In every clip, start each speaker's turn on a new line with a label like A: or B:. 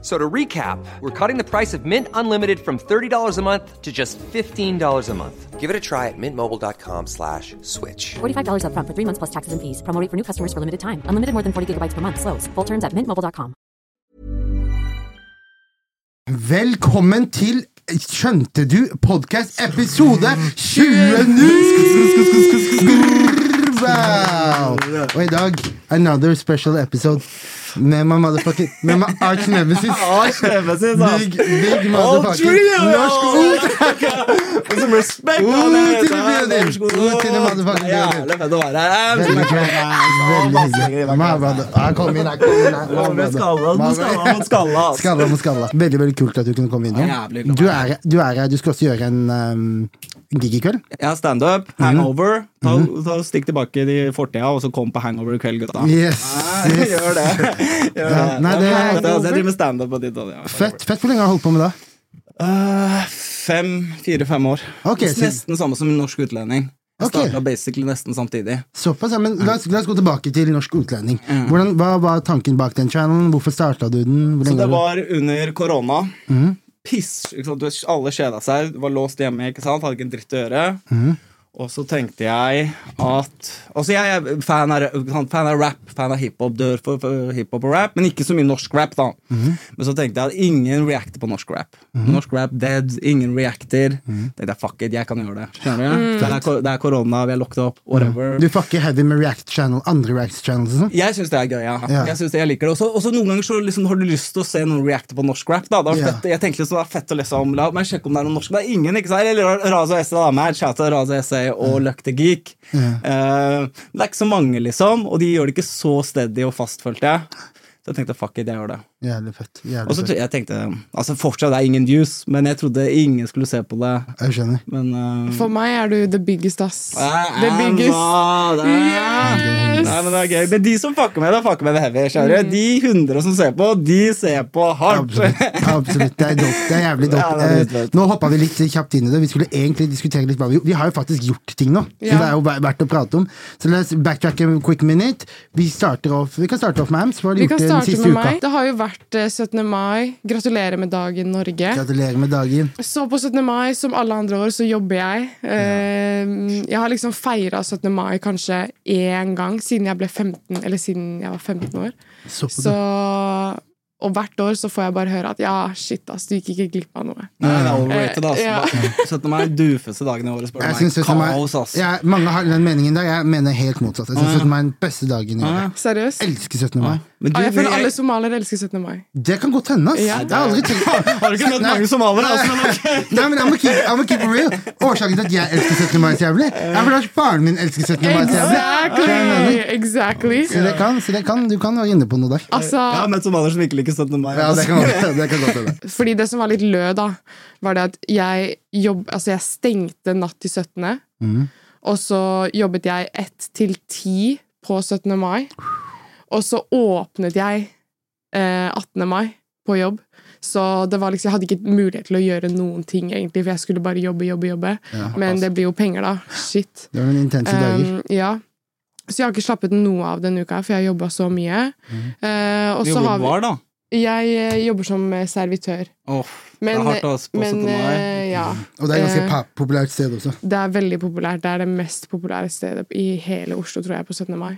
A: So to recap, we're cutting the price of Mint Unlimited from $30 a month to just $15 a month. Give it a try at mintmobile.com slash switch.
B: $45 upfront for three months plus taxes and fees. Promo rate for new customers for limited time. Unlimited more than 40 gigabytes per month. Slows. Full terms at mintmobile.com.
C: Velkommen til Skjønte du? Podcast episode 29! Wow! Og i dag, another special episode med my motherfucking Med my arch nemesis. Big, big motherfucking norsk ord!
D: Put some respect
C: Ut
D: on it.
C: til Bjørnin. Ut til motherfucking Bjørnin.
D: Jævlig fett å være her.
C: Veldig hyggelig. My brother. Ah, Kom inn her, kom inn her.
D: Må
C: My
D: med skalla,
C: brother.
D: må skalla, må skalla, ass.
C: Skalla mot skalla. Veldig veldig kult at du kunne komme innom.
D: Jævlig glad.
C: Du er her, du, er her. du skal også gjøre en um, gig i kveld.
D: Jeg har standup,
C: Mhm.
D: hangover. Ta, ta, stikk tilbake i fortida, og så kom på hangover i kveld, gutta.
C: Yes. yes.
D: Gjør det. Gjør
C: Ja,
D: det.
C: nei, det er-
D: Jeg driver med standup på ditt og
C: Fett. Fett. Hvor lenge har du holdt på med det?
D: Fem, fire-fem år.
C: Ok, så-
D: Nesten samme som norsk utlending. Jeg
C: Ok.
D: starta basically nesten samtidig.
C: Såpass, ja, men la oss, la oss gå tilbake til Norsk utlending. Hvordan, hva var tanken bak den channelen? Hvorfor starta du Mhm. den? Hvor
D: Så
C: lenge har
D: det var under korona. Piss! Ikke sant? Du- Alle kjeda seg, var låst hjemme, ikke sant? hadde ikke en dritt å gjøre.
C: Mhm.
D: Og så tenkte jeg at Altså, jeg er fan av, ikke sant? fan av rap, fan av hiphop, dør for, for hiphop og rap, men ikke så mye norsk rap, da.
C: Mhm.
D: Men så tenkte jeg at ingen reacter på norsk rap. Norsk rap dead, ingen reacter.
C: Mhm.
D: Tenkte jeg, fuck it, jeg kan gjøre det. Skjønner du? Det, er, kor- det er korona, vi er locked up, whatever.
C: Mhm. du Du fucker heavy med React Channel, andre React Channels og sånn?
D: Jeg syns det er gøy. ja.
C: Ja.
D: Jeg synes det, jeg liker det. Også, også noen ganger så liksom, har du lyst til å se noen reacte på norsk rap. da. Det var
C: Ja.
D: fett, jeg tenkte liksom, det var fett å lese om, La meg sjekke om det er noen norsk. Det er ingen, ikke sant? Eller Raza og Essay, da. Mad shout out Raza og Essay og Luck the Geek. Eh, men det er ikke så mange, liksom. Og de gjør det ikke så steady og fast, følte jeg. Så jeg tenkte fuck it, jeg gjør det.
C: Jævlig fett.
D: Og
C: Jævlig
D: så
C: fett.
D: tro- jeg tenkte, altså Fortsatt det er ingen views, men jeg trodde ingen skulle se på det.
C: Jeg skjønner.
D: Men eh,
E: For meg er du the biggest, ass.
D: I
E: The
D: am
E: biggest.
D: not-
E: Yes!
D: Nei, men det er gøy. Men de som fucker med det, fucker med det heavy. skjønner du?
E: Mm.
D: De hundre som ser på, de ser på hardt.
C: Absolutt. absolutt. Det er dope. Det er jævlig
D: Ja,
C: dope.
D: det er litt
C: Eh,
D: dope.
C: nå hoppa vi litt kjapt inn i det. Vi skulle egentlig diskutere litt hva vi Vi har jo faktisk gjort ting nå, så
E: Ja.
C: det er jo ver- verdt å prate om. Så la oss backtrack a quick minute. Vi, starter off, vi kan starte off med Ams. Hva har du
E: Vi kan
C: gjort den
E: starte
C: siste
E: med
C: uka?
E: meg. Det har jo vært eh, 17. mai. Gratulerer med dagen, Norge.
C: Gratulerer med dagen.
E: Så på 17. mai, som alle andre år, så jobber jeg. Eh, Jeg har liksom feira 17. mai kanskje én gang siden jeg ble 15, eller siden jeg var 15 år.
C: Så på
E: Så, og hvert år så får jeg bare høre at ja, shit, ass, du gikk ikke glipp av noe.
D: Nei, det er overrated, altså.
E: Ja.
D: 17. mai er den dufeste dagen i året, spør
C: Jeg
D: du meg.
C: synes 17. mai-
D: Kaos, ass.
C: Ja, mange har den meningen der. Jeg mener helt motsatt. Jeg synes 17. mai er den beste dagen i året.
E: Seriøst?
C: Elsker 17. mai.
D: Men du,
E: Ah, jeg føler alle
D: jeg-
E: somaliere elsker 17. mai.
C: Det kan godt hende, ass.
E: Ja.
C: Jeg har aldri tenkt
D: Har du ikke møtt
C: Nei.
D: mange somaliere? Altså, men ok.
C: Nei, men I'm a keep, I'm a keep it real. Årsaken til at jeg elsker 17. mai så jævlig, er fordi at faren min elsker 17. mai så jævlig.
E: Exactly! exactly.
C: Så det kan, så det kan, du kan være inne på noe der.
E: Altså,
D: Jeg har møtt somaliere som ikke liker 17. mai.
C: Ja, det
D: ass.
C: kan godt hende. det kan godt hende.
E: Fordi det som var litt lø da, var det at jeg, jobb, altså jeg stengte natt til 17. Og så jobbet jeg 1 til 10 på 17. mai. Og så åpnet jeg eh, 18. mai på jobb. Så det var liksom, jeg hadde ikke mulighet til å gjøre noen ting, egentlig, for jeg skulle bare jobbe, jobbe, jobbe. Men det blir jo penger, da. Shit.
C: Det var noen intense dager.
E: Um, ja. Så jeg har ikke slappet noe av denne uka, for jeg har jobba så mye. Eh, og
D: Vi
E: så
D: jobber
E: har vi,
D: bar, da.
E: jeg eh, jobber som eh, servitør.
D: Åh, det
E: Men, eh,
D: er hardt, ass, på 17.
E: men
D: mai.
E: eh, ja,
C: Og det er et ganske
E: eh,
C: pa- populært sted også.
E: det er veldig populært. Det er det mest populære stedet i hele Oslo, tror jeg, på 17. mai.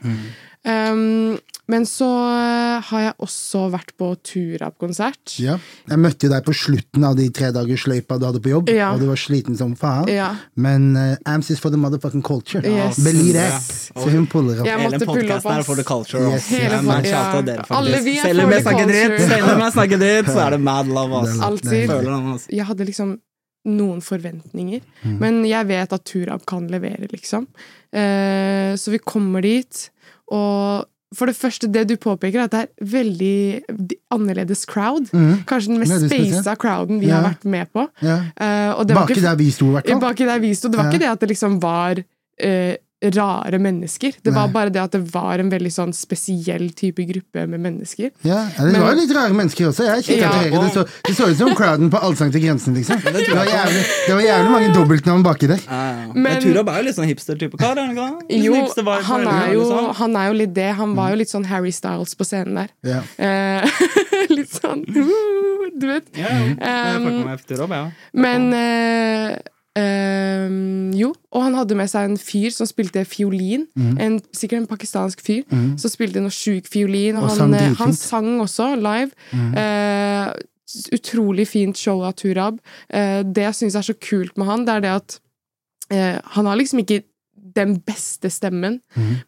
E: Um, men så eh, har jeg også vært på Turab-konsert.
C: Ja. Jeg møtte jo deg på slutten av de tredagersløypa du hadde på jobb,
E: Ja.
C: og du var sliten som faen.
E: Ja.
C: Men eh, Ams is for the motherfucking culture.
E: Yes.
C: Believe that.
D: Yes.
C: Så hun puller opp.
E: Jeg
D: Hele
E: måtte pulle
D: podkasten
E: opp,
D: er
E: ass.
D: for the culture. ass.
C: Yes.
E: Hele
D: Ja, men
E: pod-
D: shout out
E: ja.
D: dere,
E: Alle
D: faktisk.
E: vi er
D: Selv om
E: for
D: jeg
E: the
D: snakker dritt,
E: culture.
D: selv om jeg snakker dritt, så er det mad love, ass.
C: Det er
E: Alltid.
C: helt
D: Føler han, ass.
E: Jeg hadde liksom noen forventninger, men jeg vet at Turab kan levere, liksom. Eh, så vi kommer dit, og for det første, det du påpeker, er at det er veldig d- annerledes crowd. Kanskje den mest
C: Veldig spesielt.
E: spasa crowden vi har
C: Ja.
E: vært med på.
C: Ja.
E: Eh, og det var
C: Baki
E: ikke-
C: der vi sto, i hvert fall.
E: Baki der vi sto. Det var
C: Ja.
E: ikke det at det liksom var eh, rare mennesker. Det var bare det at det var en veldig sånn spesiell type gruppe med mennesker.
C: Ja, ja, det
E: Men-
C: var jo litt rare mennesker også. Jeg kikket
E: Ja,
C: til høyre. Det så, det så ut som crowden på Allsang til grensen, liksom. Det var jævlig, det var jævlig mange dobbeltnavn baki der.
E: Men-
D: Men Turab er jo litt sånn hipster-type kar. er han ikke det? Litt
E: Jo,
D: sånn hipster-vibe liksom.
E: han
D: fra
E: er jo,
D: USA.
E: han er jo litt det. Han var jo litt sånn Harry Styles på scenen der.
C: Mm. Ja.
E: Eh, litt sånn uh, Du vet.
D: Ja, jo. Jeg fucker
E: Mm.
D: med Turab, ja.
E: Men eh, ehm, Jo. Og han hadde med seg en fyr som spilte fiolin.
C: Mhm.
E: En, sikkert en pakistansk fyr som spilte noe sjuk fiolin. Og,
C: Og sang
E: han, eh,
C: dritfint. Mhm.
E: han sang også live. Eh, s- utrolig fint show av Turab. Eh, det jeg syns er så kult med han, det er det at eh, han har liksom ikke den beste stemmen,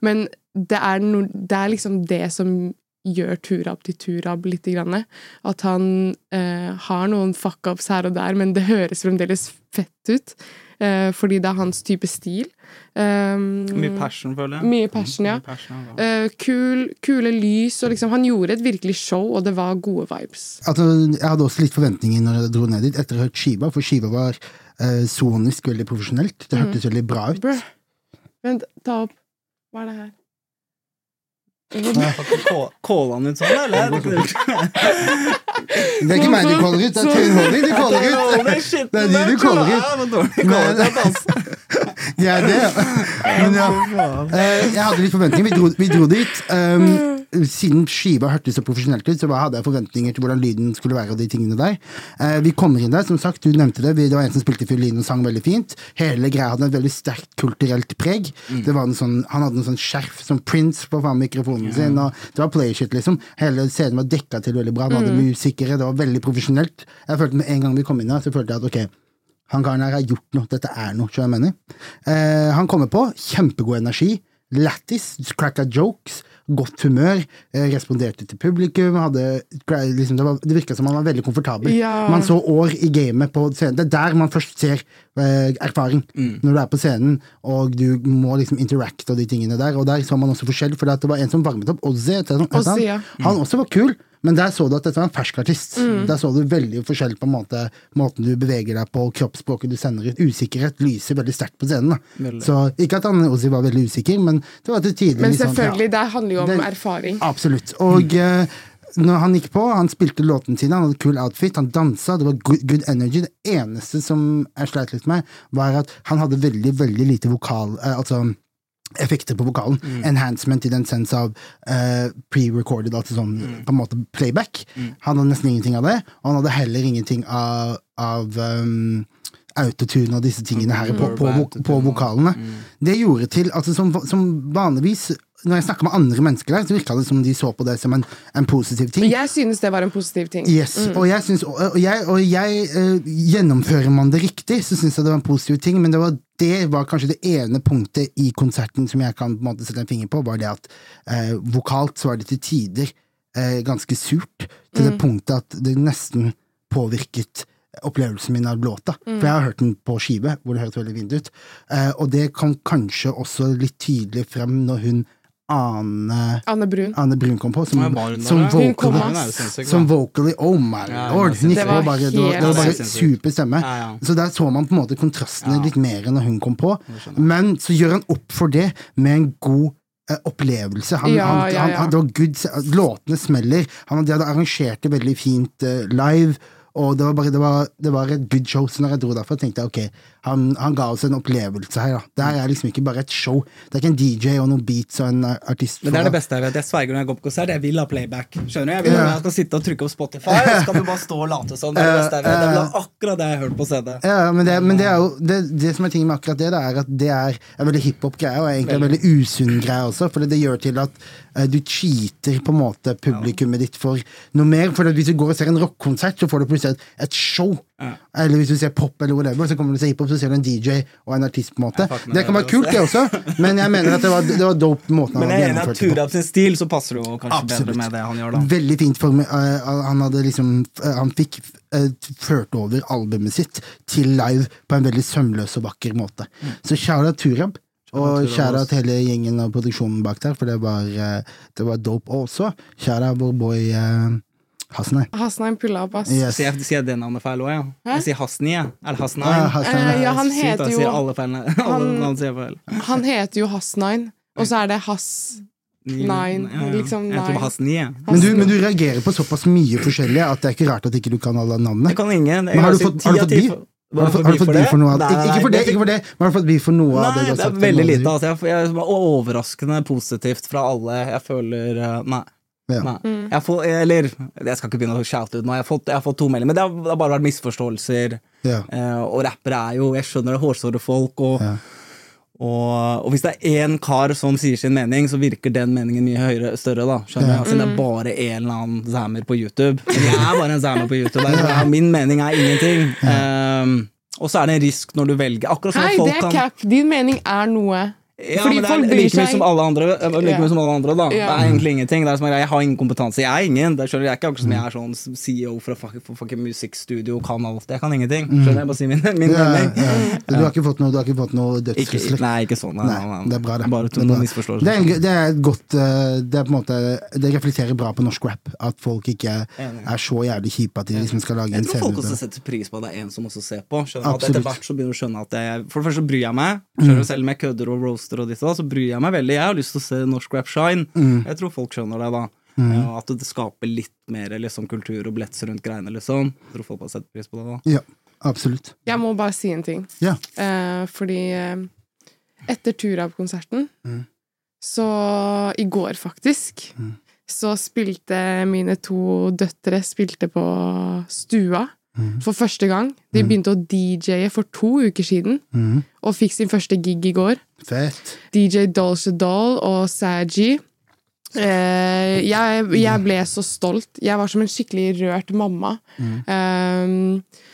E: men det er, no, det er liksom det som gjør Turab til Turab litt. Grann. At han eh, har noen fuck-ups her og der, men det høres fremdeles fett ut. eh, fordi det er hans type stil. Um,
D: Mye passion, føler jeg.
E: mye passion, ja.
D: Mye passion, ja.
E: Eh, kul, kule lys, og liksom Han gjorde et virkelig show, og det var gode vibes.
C: Altså, jeg hadde også litt forventninger når jeg dro ned dit, etter å ha hørt Skiva, for Skiva var eh, sonisk veldig profesjonelt. Det
E: Mm.
C: hørtes veldig bra ut.
E: Bruh. Vent, ta opp Hva er det her? Eh,
D: Kåla han ut sånn, eller?
C: Det er ikke meg du caller ut, det er Tune Holly du caller ut!
D: Holy shit,
C: Det er de du caller ut.
D: Ja, men dårlig caller ut, altså.
C: Det er det. Men ja. Eh, jeg hadde litt forventninger. Vi dro, vi dro dit. ehm, siden skiva hørtes så profesjonelt ut, så bare hadde jeg forventninger til hvordan lyden skulle være. og de tingene der. Eh, vi kommer inn der, som sagt, du nevnte det. Vi, det var en som spilte fiolin og sang veldig fint. Hele greia hadde et veldig sterkt kulturelt preg. Det var en sånn, han hadde noe sånn skjerf som Prince på faen mikrofonen sin. og Det var playshit, liksom. Hele scenen var dekka til veldig bra. Han hadde musikere, det var veldig profesjonelt. Jeg følte Med en gang vi kom inn der, så følte jeg at ok, han karen her har gjort noe, dette er noe, tror jeg mener. Eh, han kommer på, kjempegod energi, lættis, cracka jokes, godt humør, eh, responderte til publikum, hadde, liksom, det, var, det virket som han var veldig komfortabel.
E: Ja.
C: Man så år i gamet på scenen, det er der man først ser eh, erfaring, når du er på scenen, og du må liksom interacte og de tingene der, og der så man også forskjell, for det var en som varmet opp, Ozzy, heter han, heter
E: Ozzy,
C: han?
E: ja.
C: Han også var kul, men der så du at dette var en fersk artist.
E: Mm.
C: Der så du veldig forskjell på en måte, måten du beveger deg på, kroppsspråket du sender ut. Usikkerhet lyser veldig sterkt på scenen. Da. Så ikke at han også var veldig usikker, men det var til tider
E: Men
C: litt sånn,
E: selvfølgelig,
C: ja.
E: det handler jo om
C: Det-
E: erfaring. Mm.
C: Absolutt. Og eh, når han gikk på, han spilte låtene sine, han hadde kul outfit, han dansa, det var good, good energy. Det eneste som jeg sleit litt med, var at han hadde veldig, veldig lite vokal eh, Altså effekter på vokalen. Enhancement i den sense av eh, pre-recorded, altså sånn på en måte playback. Han hadde nesten ingenting av det, og han hadde heller ingenting av, av um, autotune og disse tingene her på, på, på, på vokalene. Det gjorde til altså som, som vanligvis når jeg snakker med andre mennesker der, så virka det som de så på det som en, en positiv ting.
E: Jeg synes det var en positiv ting.
C: Yes, og jeg, synes, og og jeg, og jeg eh, Gjennomfører man det riktig, så syns jeg det var en positiv ting, men det var, det var kanskje det ene punktet i konserten som jeg kan på en måte sette en finger på, var det at eh, vokalt så var det til tider eh, ganske surt, til det punktet at det nesten påvirket opplevelsen min av låta. For jeg har hørt den på skive, hvor det høres veldig fint ut, Eh, og det kom kanskje også litt tydelig frem når hun Ane
E: Anne Brun.
C: Anne Brun kom på, som,
D: Nei, var hun der,
C: som
D: da?
E: Hun kom,
C: vocal,
D: Hun er
E: ass.
D: jo sinnssyk, da.
C: som vocally Oh my lord!
D: sinnssyk.
C: Nikke
E: Det var
C: var bare, det var, det
E: helt
C: var bare
D: sinnssykt.
C: super stemme.
D: Ja, ja.
C: Så der så man på en måte kontrastene litt mer enn når hun kom på. Men så gjør han opp for det med en god eh, opplevelse. Han,
E: Ja,
C: han,
E: ja,
C: han,
E: ja.
C: han, det var good, se- låtene smeller. Han, de hadde arrangert det veldig fint eh, live. Og det var, bare, det, var, det var et good show, så når jeg dro derfra, tenkte jeg ok, han, han ga oss en opplevelse her. Da. Det her er liksom ikke bare et show. Det er ikke en DJ og noen beats og en eh, artist.
D: Men det er det
C: foran.
D: beste jeg vet. Jeg sverger når jeg går på konsert, jeg vil ha playback. Skjønner du? Jeg vil at jeg skal sitte og trykke opp Spotify, og så kan du bare stå og late som. Det er det beste jeg vet. Det er akkurat det jeg har hørt på CD.
C: Ja, ja, men det, men det er jo det, det som er tingen med akkurat det, det er at det er en veldig hiphop-greie, og egentlig en veldig usunn greie også, for det gjør til at eh, du cheater på en måte publikummet ditt for noe mer. For hvis du går og ser en rockekonsert, så får du plutselig et, et show. Eller hvis du ser pop eller whatever, så kommer du til å se hiphop, så ser du en DJ og en artist, på en måte.
D: fuck med
C: Det kan
D: det
C: være kult, det også, men jeg mener at det var, det var dope måten han
D: Men jeg
C: hadde
D: er enig i at
C: gjennomført det på.
D: Turab sin stil, så passer det jo kanskje
C: Absolutt.
D: bedre med det han gjør, da.
C: Veldig fint form. eh, han hadde liksom eh, Han fikk eh, ført over albumet sitt til live på en veldig sømløs og vakker måte.
D: Mm.
C: Så kjære Turab, og kjære til hele gjengen av produksjonen bak der, for det var, eh, det var dope. Og også kjære vår boy eh, Hasnei.
E: Hasnaim pulla opp, ass.
C: Yes.
D: Sier jeg, sier jeg det navnet feil òg, ja? Jeg sier Hasni, jeg. Er det Hasnai?
C: Ah, Hasnei.
E: Eh, ja, han
D: Sykt, da,
E: heter
D: Sier
E: jo
D: alle feil. Alle
E: Han-
D: navn sier jeg feil.
E: Han heter jo Hasnain, og så er det Hass... Nine, liksom
D: Jeg tror
E: nine.
D: bare Hasni, jeg.
C: Men du, men du reagerer på såpass mye forskjellig at det er ikke rart at ikke du kan alle navnene.
D: Jeg kan ingen. Jeg
C: Men har du
D: sier
C: fått-
D: ti
C: har du
D: av
C: fått
D: ti
C: bi? Har
D: for-
C: du fått- har du fått
D: bi
C: bi for noe av
D: Nei,
C: ikke,
D: nei,
C: ikke for det,
D: jeg fikk-
C: ikke for det, men har du fått bi for noe av det
D: Nei,
C: du
D: det
C: har
D: er
C: sagt?
D: veldig
C: om
D: lite.
C: andre?
D: Altså, jeg, jeg er overraskende positivt fra alle. Jeg føler eh, Nei.
C: Ja.
D: nei.
E: Mm.
D: Jeg får, eller Jeg skal ikke begynne å shoute ut nå. Jeg har fått, jeg har fått to meldinger, men det har, det har bare vært misforståelser.
C: Ja.
D: Eh, og rappere er jo Jeg skjønner det er hårsåre folk, og,
C: Ja.
D: og, og hvis det er én kar som sier sin mening, så virker den meningen mye høyere, større, da. Skjønner jeg?
E: Mm.
D: Siden det er bare en eller annen zammer på YouTube. Men Jeg er bare en zammer på YouTube. Det er, det er- min mening er ingenting. Eh, og så er det en risk når du velger. Akkurat som
E: Hei,
D: at folk
E: det er
D: kan
E: cap! Din mening er noe.
D: ja,
E: Fordi
D: men det er
E: folk bryr
D: like mye
E: seg-
D: som alle andre. eh, Like
E: Ja.
D: mye som alle andre da.
E: Ja.
D: Det er egentlig ingenting. Det er som, at jeg har ingen kompetanse. Jeg er ingen. Det skjønner du. jeg er ikke
C: Mm.
D: akkurat som jeg er sånn CEO fra fuck- for fucking musikkstudio og kan alt. Jeg kan ingenting. Skjønner du? jeg bare sier min, min
C: Mm. Ja,
D: mening.
C: ja. Du har ikke fått noe, du har ikke fått noe
D: Ikke,
C: dødstrusler?
D: nei, ikke sånn. Nei, nei, nei.
C: det er bra, det.
D: Bare
C: Det
D: to
C: er bra.
D: misforståelser.
C: Det er, en, det er et godt eh, Det er på en måte Det reflekterer bra på norsk rap. At folk ikke er så jævlig kjipe at de liksom skal lage en
D: Jeg tror
C: scene ut
D: folk
C: av
D: også
C: det.
D: setter pris på at det er en som også ser på. Skjønner du? at
C: Absolutt. Mm.
D: Etter hvert så begynner du å skjønne at jeg, For det første så bryr jeg meg. Skjønner du? Selv om jeg kødder og roaster og ditt og da, så bryr jeg meg veldig. Jeg har lyst til å se norsk rap shine.
C: Mm.
D: Jeg tror folk skjønner det, da. Ja, At det skaper litt mer liksom, kultur og blets rundt greiene, liksom. Jeg tror folk har sett pris på det, da.
C: Ja, absolutt.
E: Jeg må bare si en ting.
C: Ja.
E: Eh, fordi eh, etter Turab-konserten,
D: Mm.
E: så i går faktisk, så spilte mine to døtre spilte på stua
D: Mm.
E: for første gang. De begynte å DJ-e for to uker siden,
D: Mm.
C: Mhm.
E: og fikk sin første gig i går.
C: Fett.
E: DJ Dolce Doll og Saji. Eh, jeg, jeg ble så stolt. Jeg var som en skikkelig rørt mamma.
C: Mm.
E: Eh,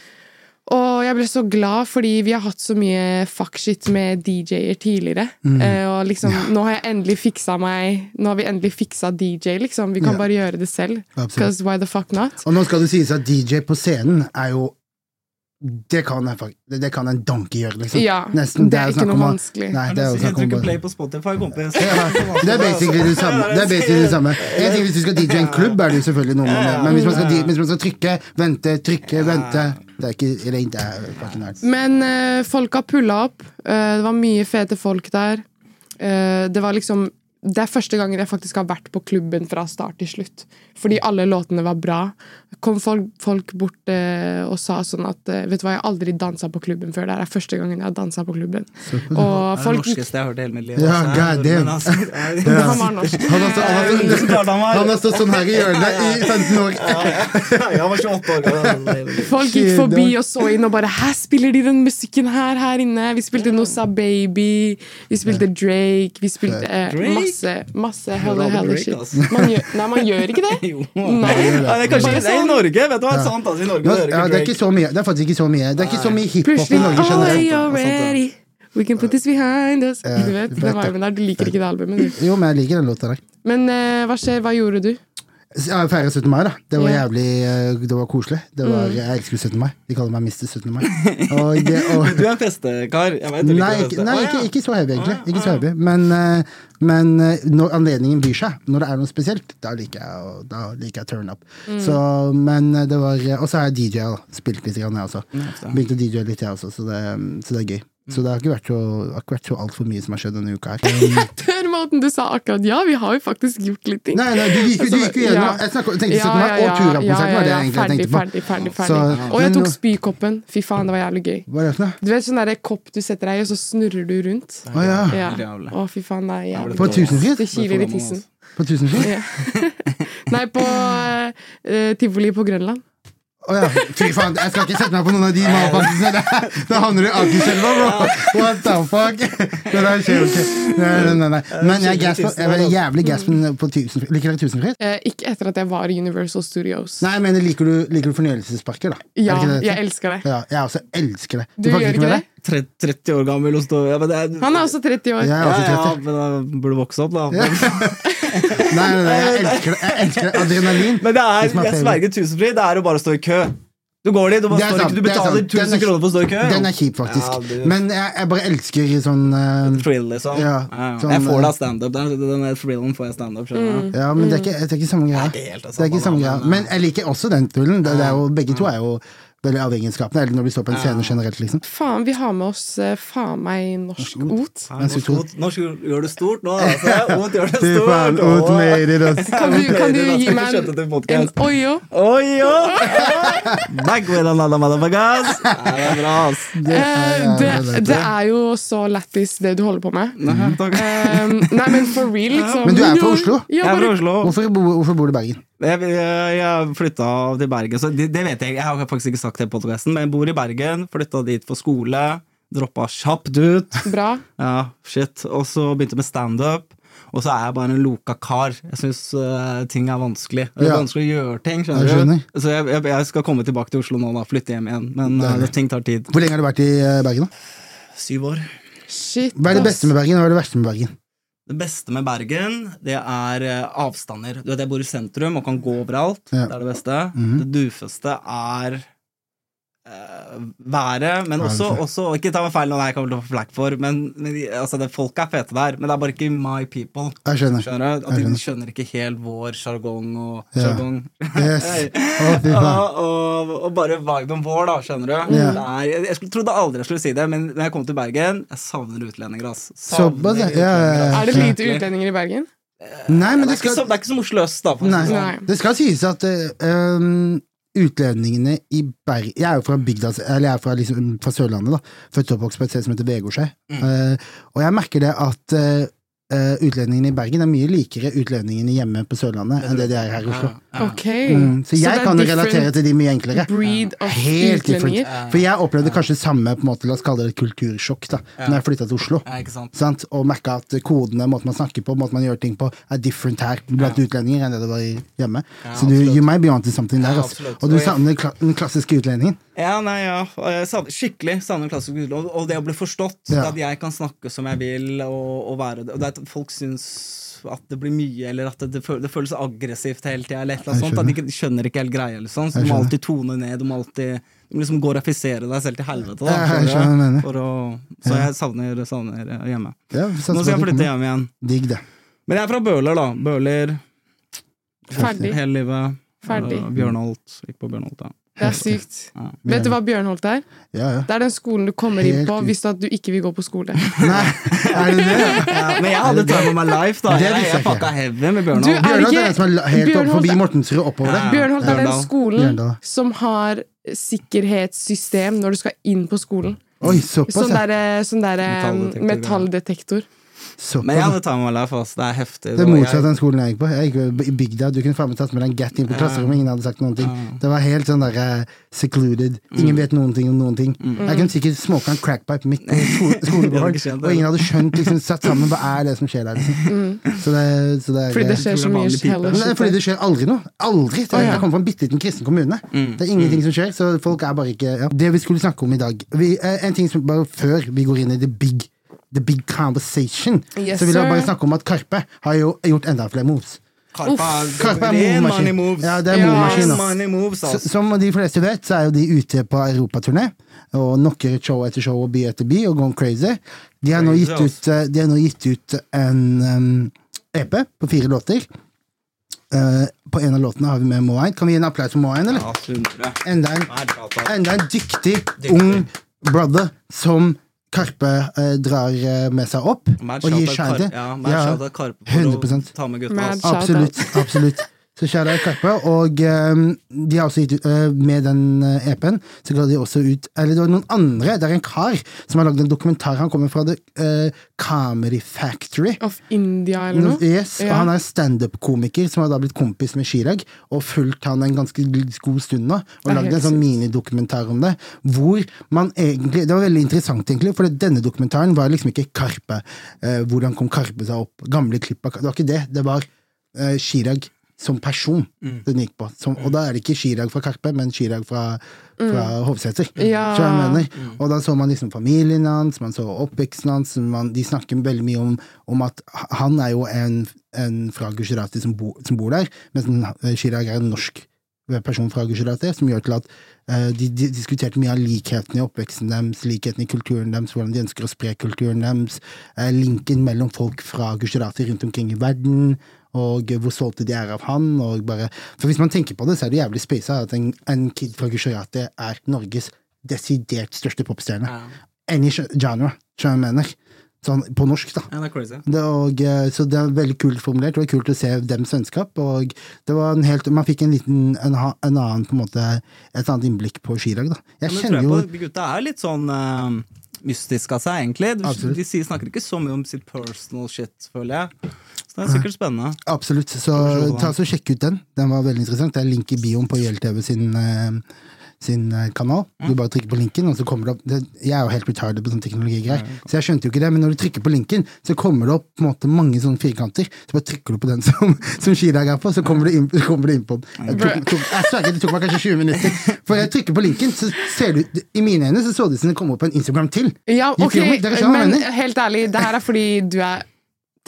E: og jeg ble så glad, fordi vi har hatt så mye fuckshit med DJ-er tidligere.
C: Mm.
E: Eh, og liksom, nå har jeg endelig fiksa meg Nå har vi endelig fiksa DJ, liksom. Vi kan
C: Ja.
E: bare gjøre det selv.
C: Absolutt.
E: Because why the fuck not?
C: Og nå skal det sies at DJ på scenen er jo Det kan en, fak- det, det kan en donkey gjøre, liksom.
E: Ja,
C: Nesten,
E: det er ikke
C: snakk
E: noe
C: om å-
E: vanskelig.
C: Nei, det er jo
D: jeg
C: snakk om
D: trykker
C: bare-
D: play på Spotify, kompis.
C: Ja, det er basically det samme. Det er basically det samme. En ting hvis du skal DJ en klubb, er det jo selvfølgelig noe man gjør. Men hvis man skal, di- hvis man skal trykke, vente, trykke, vente Det er ikke eller ikke, det er fucking nerds.
E: Men eh, folk har pulla opp. Eh, det var mye fete folk der. Eh, det var liksom Det er første gangen jeg faktisk har vært på klubben fra start til slutt. Fordi alle låtene var bra. Kom folk, folk bort eh, og sa sånn at eh, Vet du hva, jeg har aldri dansa på klubben før. Det her er første gangen jeg har dansa på klubben. Og
D: Det er det
E: folk gikk
D: norskeste jeg har hørt i hele mitt liv.
C: Ja,
D: altså.
C: god damn.
D: Men altså, jeg-
E: Han var norsk.
C: Han har stå- han har
D: Jeg
C: stå-
D: klarte han var-
C: han har stått sånn her i hjørnet i 15 år.
D: Jeg var 28 år gammel.
E: Folk gikk forbi og så inn og bare Hæ, spiller de den musikken her her inne? Vi spilte Nossa Baby, vi spilte Drake, vi spilte eh,
D: Drake?
E: masse masse hella
D: Robert
E: hella
D: Drake,
E: shit.
D: altså.
E: Man gjør, nei, man gjør ikke det.
D: Jo.
E: Nei.
D: Ja, det er kanskje det
E: Bare
D: er i
E: sånn.
D: Norge, vet du hva? Sant, altså, i Norge
C: Nå,
D: hører
C: ja, det er
D: Drake.
C: ikke så mye. Det er faktisk ikke så mye. Det er ikke så mye hiphop i
E: Plutselig
C: Norge
E: Oh,
C: generelt. altså.
E: we are ready. We can put this behind us. Du vet,
C: vet det.
E: den viben der. Du liker ikke det albumet, du.
C: Jo, men jeg liker den låta der.
E: Men eh, hva skjer? Hva gjorde du?
C: Ja, jeg feiret 17. mai, da. Det var
E: Ja.
C: jævlig eh, Det var koselig. Det var, jeg elsker 17. mai. De kaller meg Mr. 17. mai. Og det, og,
D: Du er en festekar. Jeg vet du
C: sånn-
D: liker
C: Nei,
D: å
C: ikke,
D: feste.
C: nei
D: Å, ja.
C: ikke, ikke så heavy, egentlig. Ikke så heavy. Men, eh, men eh, når anledningen byr seg, når det er noe spesielt, da liker jeg å da liker jeg turn up. Så, men eh, det var Og så har jeg DJ-a, da. Spilt litt, grann, jeg også. Begynte å DJ-e litt, jeg også, så det, så det er gøy. Så det har ikke vært så, har ikke vært så altfor mye som har skjedd denne uka her.
E: Den måten du sa akkurat ja, vi har jo faktisk gjort litt ting.
C: Nei, nei, du gikk jo du gikk jo
E: Altså, Ja.
C: gjennom Jeg snakket, tenkte 17. mai og Turan-konserten var det jeg egentlig
E: ferdig,
C: tenkte på.
E: Ferdig, ferdig, ferdig.
C: Så-
E: og jeg
C: men
E: tok
C: nå-
E: spykoppen. Fy faen, det var jævlig gøy.
C: Hva er det for noe?
E: Du vet sånn der kopp du setter deg i, og så snurrer du rundt?
C: Å ja.
E: Ja.
D: jævlig.
E: Å, fy faen, det er jævlig.
C: På
E: Det
C: Tusenfryd?
E: kiler i tissen.
C: På Tusenfryd?
E: Ja.
D: altså.
E: Nei, på eh, eh, tivoli på Grønland.
C: Å ja. Fy faen, jeg skal ikke sette meg på noen av de malfaksene der. Da havner du i Akerselva, bro! What the fuck? Det der skjer jo ikke. Nei, nei, nei, nei. Men jeg er gass på, jeg er jævlig gass på, på Tusenfryd. Liker dere Tusenfryd?
E: Eh, ikke etter at jeg var i Universal Studios.
C: Nei, jeg mener, liker du, liker du fornøyelsesparker, da? Er
E: ja,
C: det ikke det det
E: jeg
C: heter?
E: elsker det.
C: Ja, jeg også elsker det.
E: Du
C: fucker
E: gjør ikke det?
D: Tre- 30 år gammel og står ja, men det er,
E: Han er også 30 år.
C: Jeg er
D: ja,
C: også
D: ja,
C: 30.
D: men da burde vokse opp, da.
C: Nei, nei, nei, jeg elsker det. Jeg elsker det. Adrenalin.
D: Men det
C: It's my
D: er, jeg
C: favorite.
D: sverger tusenfryd, det er jo bare å stå i kø. Du går dit, du, bare
C: Det er
D: står i kø.
C: sant,
D: du
C: det er
D: betaler
C: sant. Den er
D: 1000 kroner for å stå i kø. jo.
C: Den er kjip, faktisk.
D: Ja, du-
C: Men jeg, jeg bare elsker sånn eh,
D: Thrill, liksom.
C: Ja,
D: Ja, ja.
C: sånn,
D: jeg får
C: eh,
D: da standup. Den, den der thrillen får jeg standup. Mm.
C: Ja, men det er ikke, det er ikke samme greia.
D: det er helt det
C: Det er ikke
D: samme,
C: samme
D: Mm.
C: greia.
D: men,
C: Men jeg liker også den tullen. Det, det er jo, begge to er jo veldig avhengighetsskapende, eller når vi står på en scene generelt, liksom.
E: Faen, vi har med oss eh, faen meg norsk ot.
D: Norsk
C: ord.
D: ot norsk ord gjør det stort nå, altså. Ot gjør det
C: Fy
D: stort.
C: faen,
D: Åh.
C: Oat made it, ass.
E: Kan du, kan du
D: Det er det
E: gi
D: som
E: meg
D: skjønte til
E: en, en
D: podcast.
E: oyo?
D: Oi, ja. Back with another motherfuckers. Ja, det er bra, ass.
E: Eh, det, det er jo så lættis, det du holder på med.
D: Nei, takk.
E: Eh, nei, men for real, liksom.
C: Men du er fra Oslo?
D: Jeg
E: Ja,
D: er fra
E: bare,
D: Oslo.
C: Hvorfor, bo, hvorfor bor du i Bergen?
D: Jeg, jeg, jeg flytta til Bergen, så det, det vet jeg. Jeg har faktisk ikke sagt det i podkasten, men jeg bor i Bergen. Flytta dit på skole. Droppa kjapt ut.
E: bra.
D: Ja, shit. Og så begynte jeg med standup. Og så er jeg bare en loka kar. Jeg syns ting er vanskelig. Det er
C: Ja.
D: vanskelig å gjøre ting. skjønner,
C: Jeg skjønner.
D: du? Så jeg, jeg, jeg skal komme tilbake til Oslo nå, da. Flytte hjem igjen. Men eh,
C: Deilig.
D: ting tar tid.
C: Hvor lenge har du vært i eh, Bergen? da?
D: Syv år.
E: Shit,
C: Hva er det
E: ass.
C: beste med Bergen, og hva er det verste med Bergen?
D: Det beste med Bergen, det er eh, avstander. Du vet, Jeg bor i sentrum og kan gå overalt.
C: Ja. Mhm.
D: Det er det beste. Det dufeste er eh, været, men
C: Været.
D: også, også Ikke ta meg feil, nå, nei, jeg kommer til å få flakk for, men, men de- altså, det, folk er fete der. Men det er bare ikke my people.
C: Jeg skjønner.
D: Skjønner
C: Jeg
D: du? At de
C: skjønner.
D: skjønner ikke helt vår sjargong og
C: Ja.
D: sjargong.
C: Yes. Å, fy faen.
D: og, og, og bare viben vår, da, skjønner du.
C: Ja.
D: Det er- jeg, jeg skulle- trodde aldri jeg skulle si det, men når jeg kom til Bergen Jeg savner utlendinger, ass.
C: Såpass, ja. Ja, ja, ja.
E: Er det lite utlendinger i Bergen?
C: Nei, men
D: det,
C: det
D: er ikke
C: skal
D: som, det er ikke som Oslo øst, da. for å si
C: Nei.
D: det sånn.
E: Nei.
C: Altså, Det skal sies at eh, um, utlendingene i Bergen Jeg er jo fra bygda, eller jeg er fra, liksom, fra Sørlandet, da. Født og oppvokst på et sted som heter Vegårshei. Eh, og jeg merker det at eh, eh, utlendingene i Bergen er mye likere utlendingene hjemme på Sørlandet enn det de er her i Oslo.
E: Ok.
C: Mm, så jeg
E: det er
C: kan jo
E: different
C: relatere til de mye enklere.
E: breed of
C: Helt different.
E: utlendinger.
C: For jeg opplevde kanskje samme på en måte, la oss kalle det et kultursjokk, da Når jeg flytta til Oslo.
D: Ja, ikke sant?
C: Sant? Og merka at kodene, måten man snakker på, måten man gjør ting på, er different her blant utlendinger enn det det var i- hjemme. så du, you might be onto something der.
D: Ja,
C: ass.
D: absolutt.
C: Og du
D: Og jeg-
C: savner kla den klassiske utlendingen.
D: Ja, nei, ja. Og jeg savner- Skikkelig savner klassisk utlån. Og det å bli forstått.
C: Ja.
D: At jeg kan snakke som jeg vil, og, og være det. Og det er at folk syns at det blir mye, eller at det, det, føles, det føles aggressivt hele tida. Eller et eller annet
C: Jeg
D: sånt. At de ikke, de skjønner ikke helt greia. Liksom.
C: Jeg
D: Så du må
C: skjønner.
D: alltid tone ned. Du må alltid du må liksom glorifisere deg selv til helvete. Da,
C: Ja, jeg
D: skjønner du?
C: skjønner hva du mener.
D: for å, så jeg savner, savner eh, hjemme.
C: Ja, satser
D: Nå
C: på
D: skal
C: at
D: jeg
C: det
D: flytte
C: kommer.
D: hjem igjen.
C: Digg, det.
D: Men jeg er fra Bøler, da. Bøler
E: Ferdig.
D: hele livet.
E: Ferdig.
D: Og Bjørnholt. Gikk på Bjørnholt, da.
E: Det er sykt. Vet du hva Bjørnholt er?
C: Ja, ja.
E: Det er den skolen du kommer inn
C: Helt
E: på
C: ut.
E: hvis du, at du ikke vil gå på skole.
C: Nei, er det det?
D: Ja, men jeg hadde time of my life, da.
C: Det visste
D: Jeg,
C: jeg
D: jeg
C: ikke.
D: fucka heavy med
E: Du
D: Bjørnholt.
E: er- det
C: Bjørnholt
E: ikke-
C: er den som er la- helt opp
E: Bjørnholt
C: forbi
E: er-
C: Mortensrud oppover der.
D: Ja.
E: Bjørnholt er den
D: Bjørndal.
E: skolen
C: Bjørndal.
E: som har sikkerhetssystem når du skal inn på skolen.
C: Oi, såpass,
E: Sånn
C: ja.
E: derre sånn der,
D: Metalldetektor, ja.
E: metalldetektor.
C: Såpass,
D: Men jeg
C: ja.
D: hadde time of my life, ass. Det er heftig.
C: Det er
D: var-
C: motsatt av den skolen jeg gikk på. Jeg gikk jo i bygda, Du kunne faen meg tatt med deg en gat inn på klasserommet, ingen hadde sagt noen ting. Det var helt sånn der eh, secluded. Ingen vet noen ting om noen ting. Jeg kunne sikkert smoka en crackpipe midt i sko
D: hadde
C: skolegården,
D: ikke skjedd det.
C: og ingen hadde skjønt liksom, satt sammen hva er det som skjer der. Liksom. Så det, så det er
E: Fordi det
D: tror
E: skjer
D: det
E: så
D: er
E: mye
D: vanlig pipe.
E: heller.
C: Men det er fordi det skjer aldri noe. Aldri! Det er,
E: Å, ja. Mm.
C: Jeg kommer fra en bitte liten kristen kommune. Det er ingenting som skjer, så folk er bare ikke ja. Det vi skulle snakke om i dag vi, eh, En ting som bare før vi går inn i the big The big conversation,
E: Yes,
C: så vil jeg bare
E: sir.
C: snakke om at Karpe har jo gjort enda flere moves. Karpe
D: Karpe
C: er
D: er
C: movemaskin.
D: money moves.
C: Ja, det er
E: Ja.
C: movemaskin, ass.
D: Money moves,
C: S-
D: ass.
C: Som de fleste vet, så er jo de ute på europaturné og knocker ut show etter show og by etter by og going crazy. De har nå
D: Crazy,
C: gitt ut, eh, de har nå gitt ut en em, EP på fire låter. Eh, på en av låtene har vi med Moain. Kan vi gi en applaus for Moain, eller?
D: Ja, 100.
C: Enda en,
D: Nei, bra, bra.
C: enda en dyktig, ung brother som Karpe eh, drar eh, med seg opp
D: Mad
C: og
D: shout
C: gir
D: out
C: shine
D: Kar-
C: til.
D: Ja, mad shout out Karpe for
C: 100%.
D: å ta med gutta.
E: Mad
D: ass.
E: shout-
C: Absolutt. absolutt Så kjære Karpe. Og ehm, de har også gitt ut eh, Med den eh, EP-en så ga de også ut Eller det var noen andre. Det er en kar som har lagd en dokumentar. Han kommer fra The eh, Comedy Factory.
E: Of India eller noe.
C: Mm, Yes, og
E: Ja.
C: Han er standup-komiker som har da blitt kompis med Chirag, og fulgt han en ganske god stund nå. Og
E: Det er
C: lagd en
E: helt
C: sånn
E: sykt.
C: minidokumentar om det. Hvor man egentlig Det var veldig interessant, egentlig, for denne dokumentaren var liksom ikke Karpe. Eh, hvordan kom Karpe seg opp? Gamle klipp av Karpe. Det var ikke det. Det var eh, Chirag som person
E: Mm.
C: den gikk på. Som, og da er det ikke Chirag fra Karpe, men Chirag fra, fra Hovseter.
E: Mm. Ja.
C: Så jeg mener, og da så man liksom familien hans, man så oppveksten hans. Man, de snakker veldig mye om, om at h- han er jo en, en fra Gujarati som, bo, som bor der, mens den, eh, Chirag er en norsk person fra Gujarat er, som gjør til at eh, de, de diskuterte mye av likhetene i oppveksten deres, likhetene i kulturen deres, hvordan de ønsker å spre kulturen deres, eh, linken mellom folk fra Gujarati rundt omkring i verden, og hvor stolte de er av han, og bare For hvis man tenker på det, så er det jævlig spasa at en, en kid fra Gujarati er Norges desidert største popstjerne. Any genre, tror jeg jeg mener. Sånn på norsk, da.
D: Ja, det er crazy.
C: Det, og, eh, så det er veldig kult formulert, det var kult å se dems vennskap. Og det var en helt, man fikk en liten, en, ha- en annen, på en måte, et annet innblikk på Chirag. Da. Jeg
D: Men tror
C: kjenner
D: jeg
C: jo
D: på, de gutta er litt sånn eh, mystiske av seg, egentlig. De,
C: Absolutt.
D: de sier, snakker ikke så mye om sitt personal shit, føler jeg. Så det er sikkert spennende.
C: absolutt, så
D: Personal.
C: ta så sjekk ut den. Den var veldig interessant. Det er link i bioen på YLTV sin, eh, sin eh, kanal.
E: Mm.
C: Du bare trykker på linken, og så kommer det opp det, Jeg er jo helt retarded på sånne teknologigreier, så jeg skjønte jo ikke det. Men når du trykker på linken, så kommer det opp på en måte, mange sånne firkanter. Så bare trykker du på den som, som Chirag er på, så kommer du inn, så kommer du inn på den. Jeg tok, tok, jeg sverger, det tok meg kanskje 20 minutter. For jeg trykker på linken, så ser du I mine øyne så så det ut som det kom opp på en Instagram til.
E: Ja,
C: De
E: ok,
C: filmer, dere skjønner hva jeg
E: men
C: mener?
E: helt ærlig, det her er fordi du er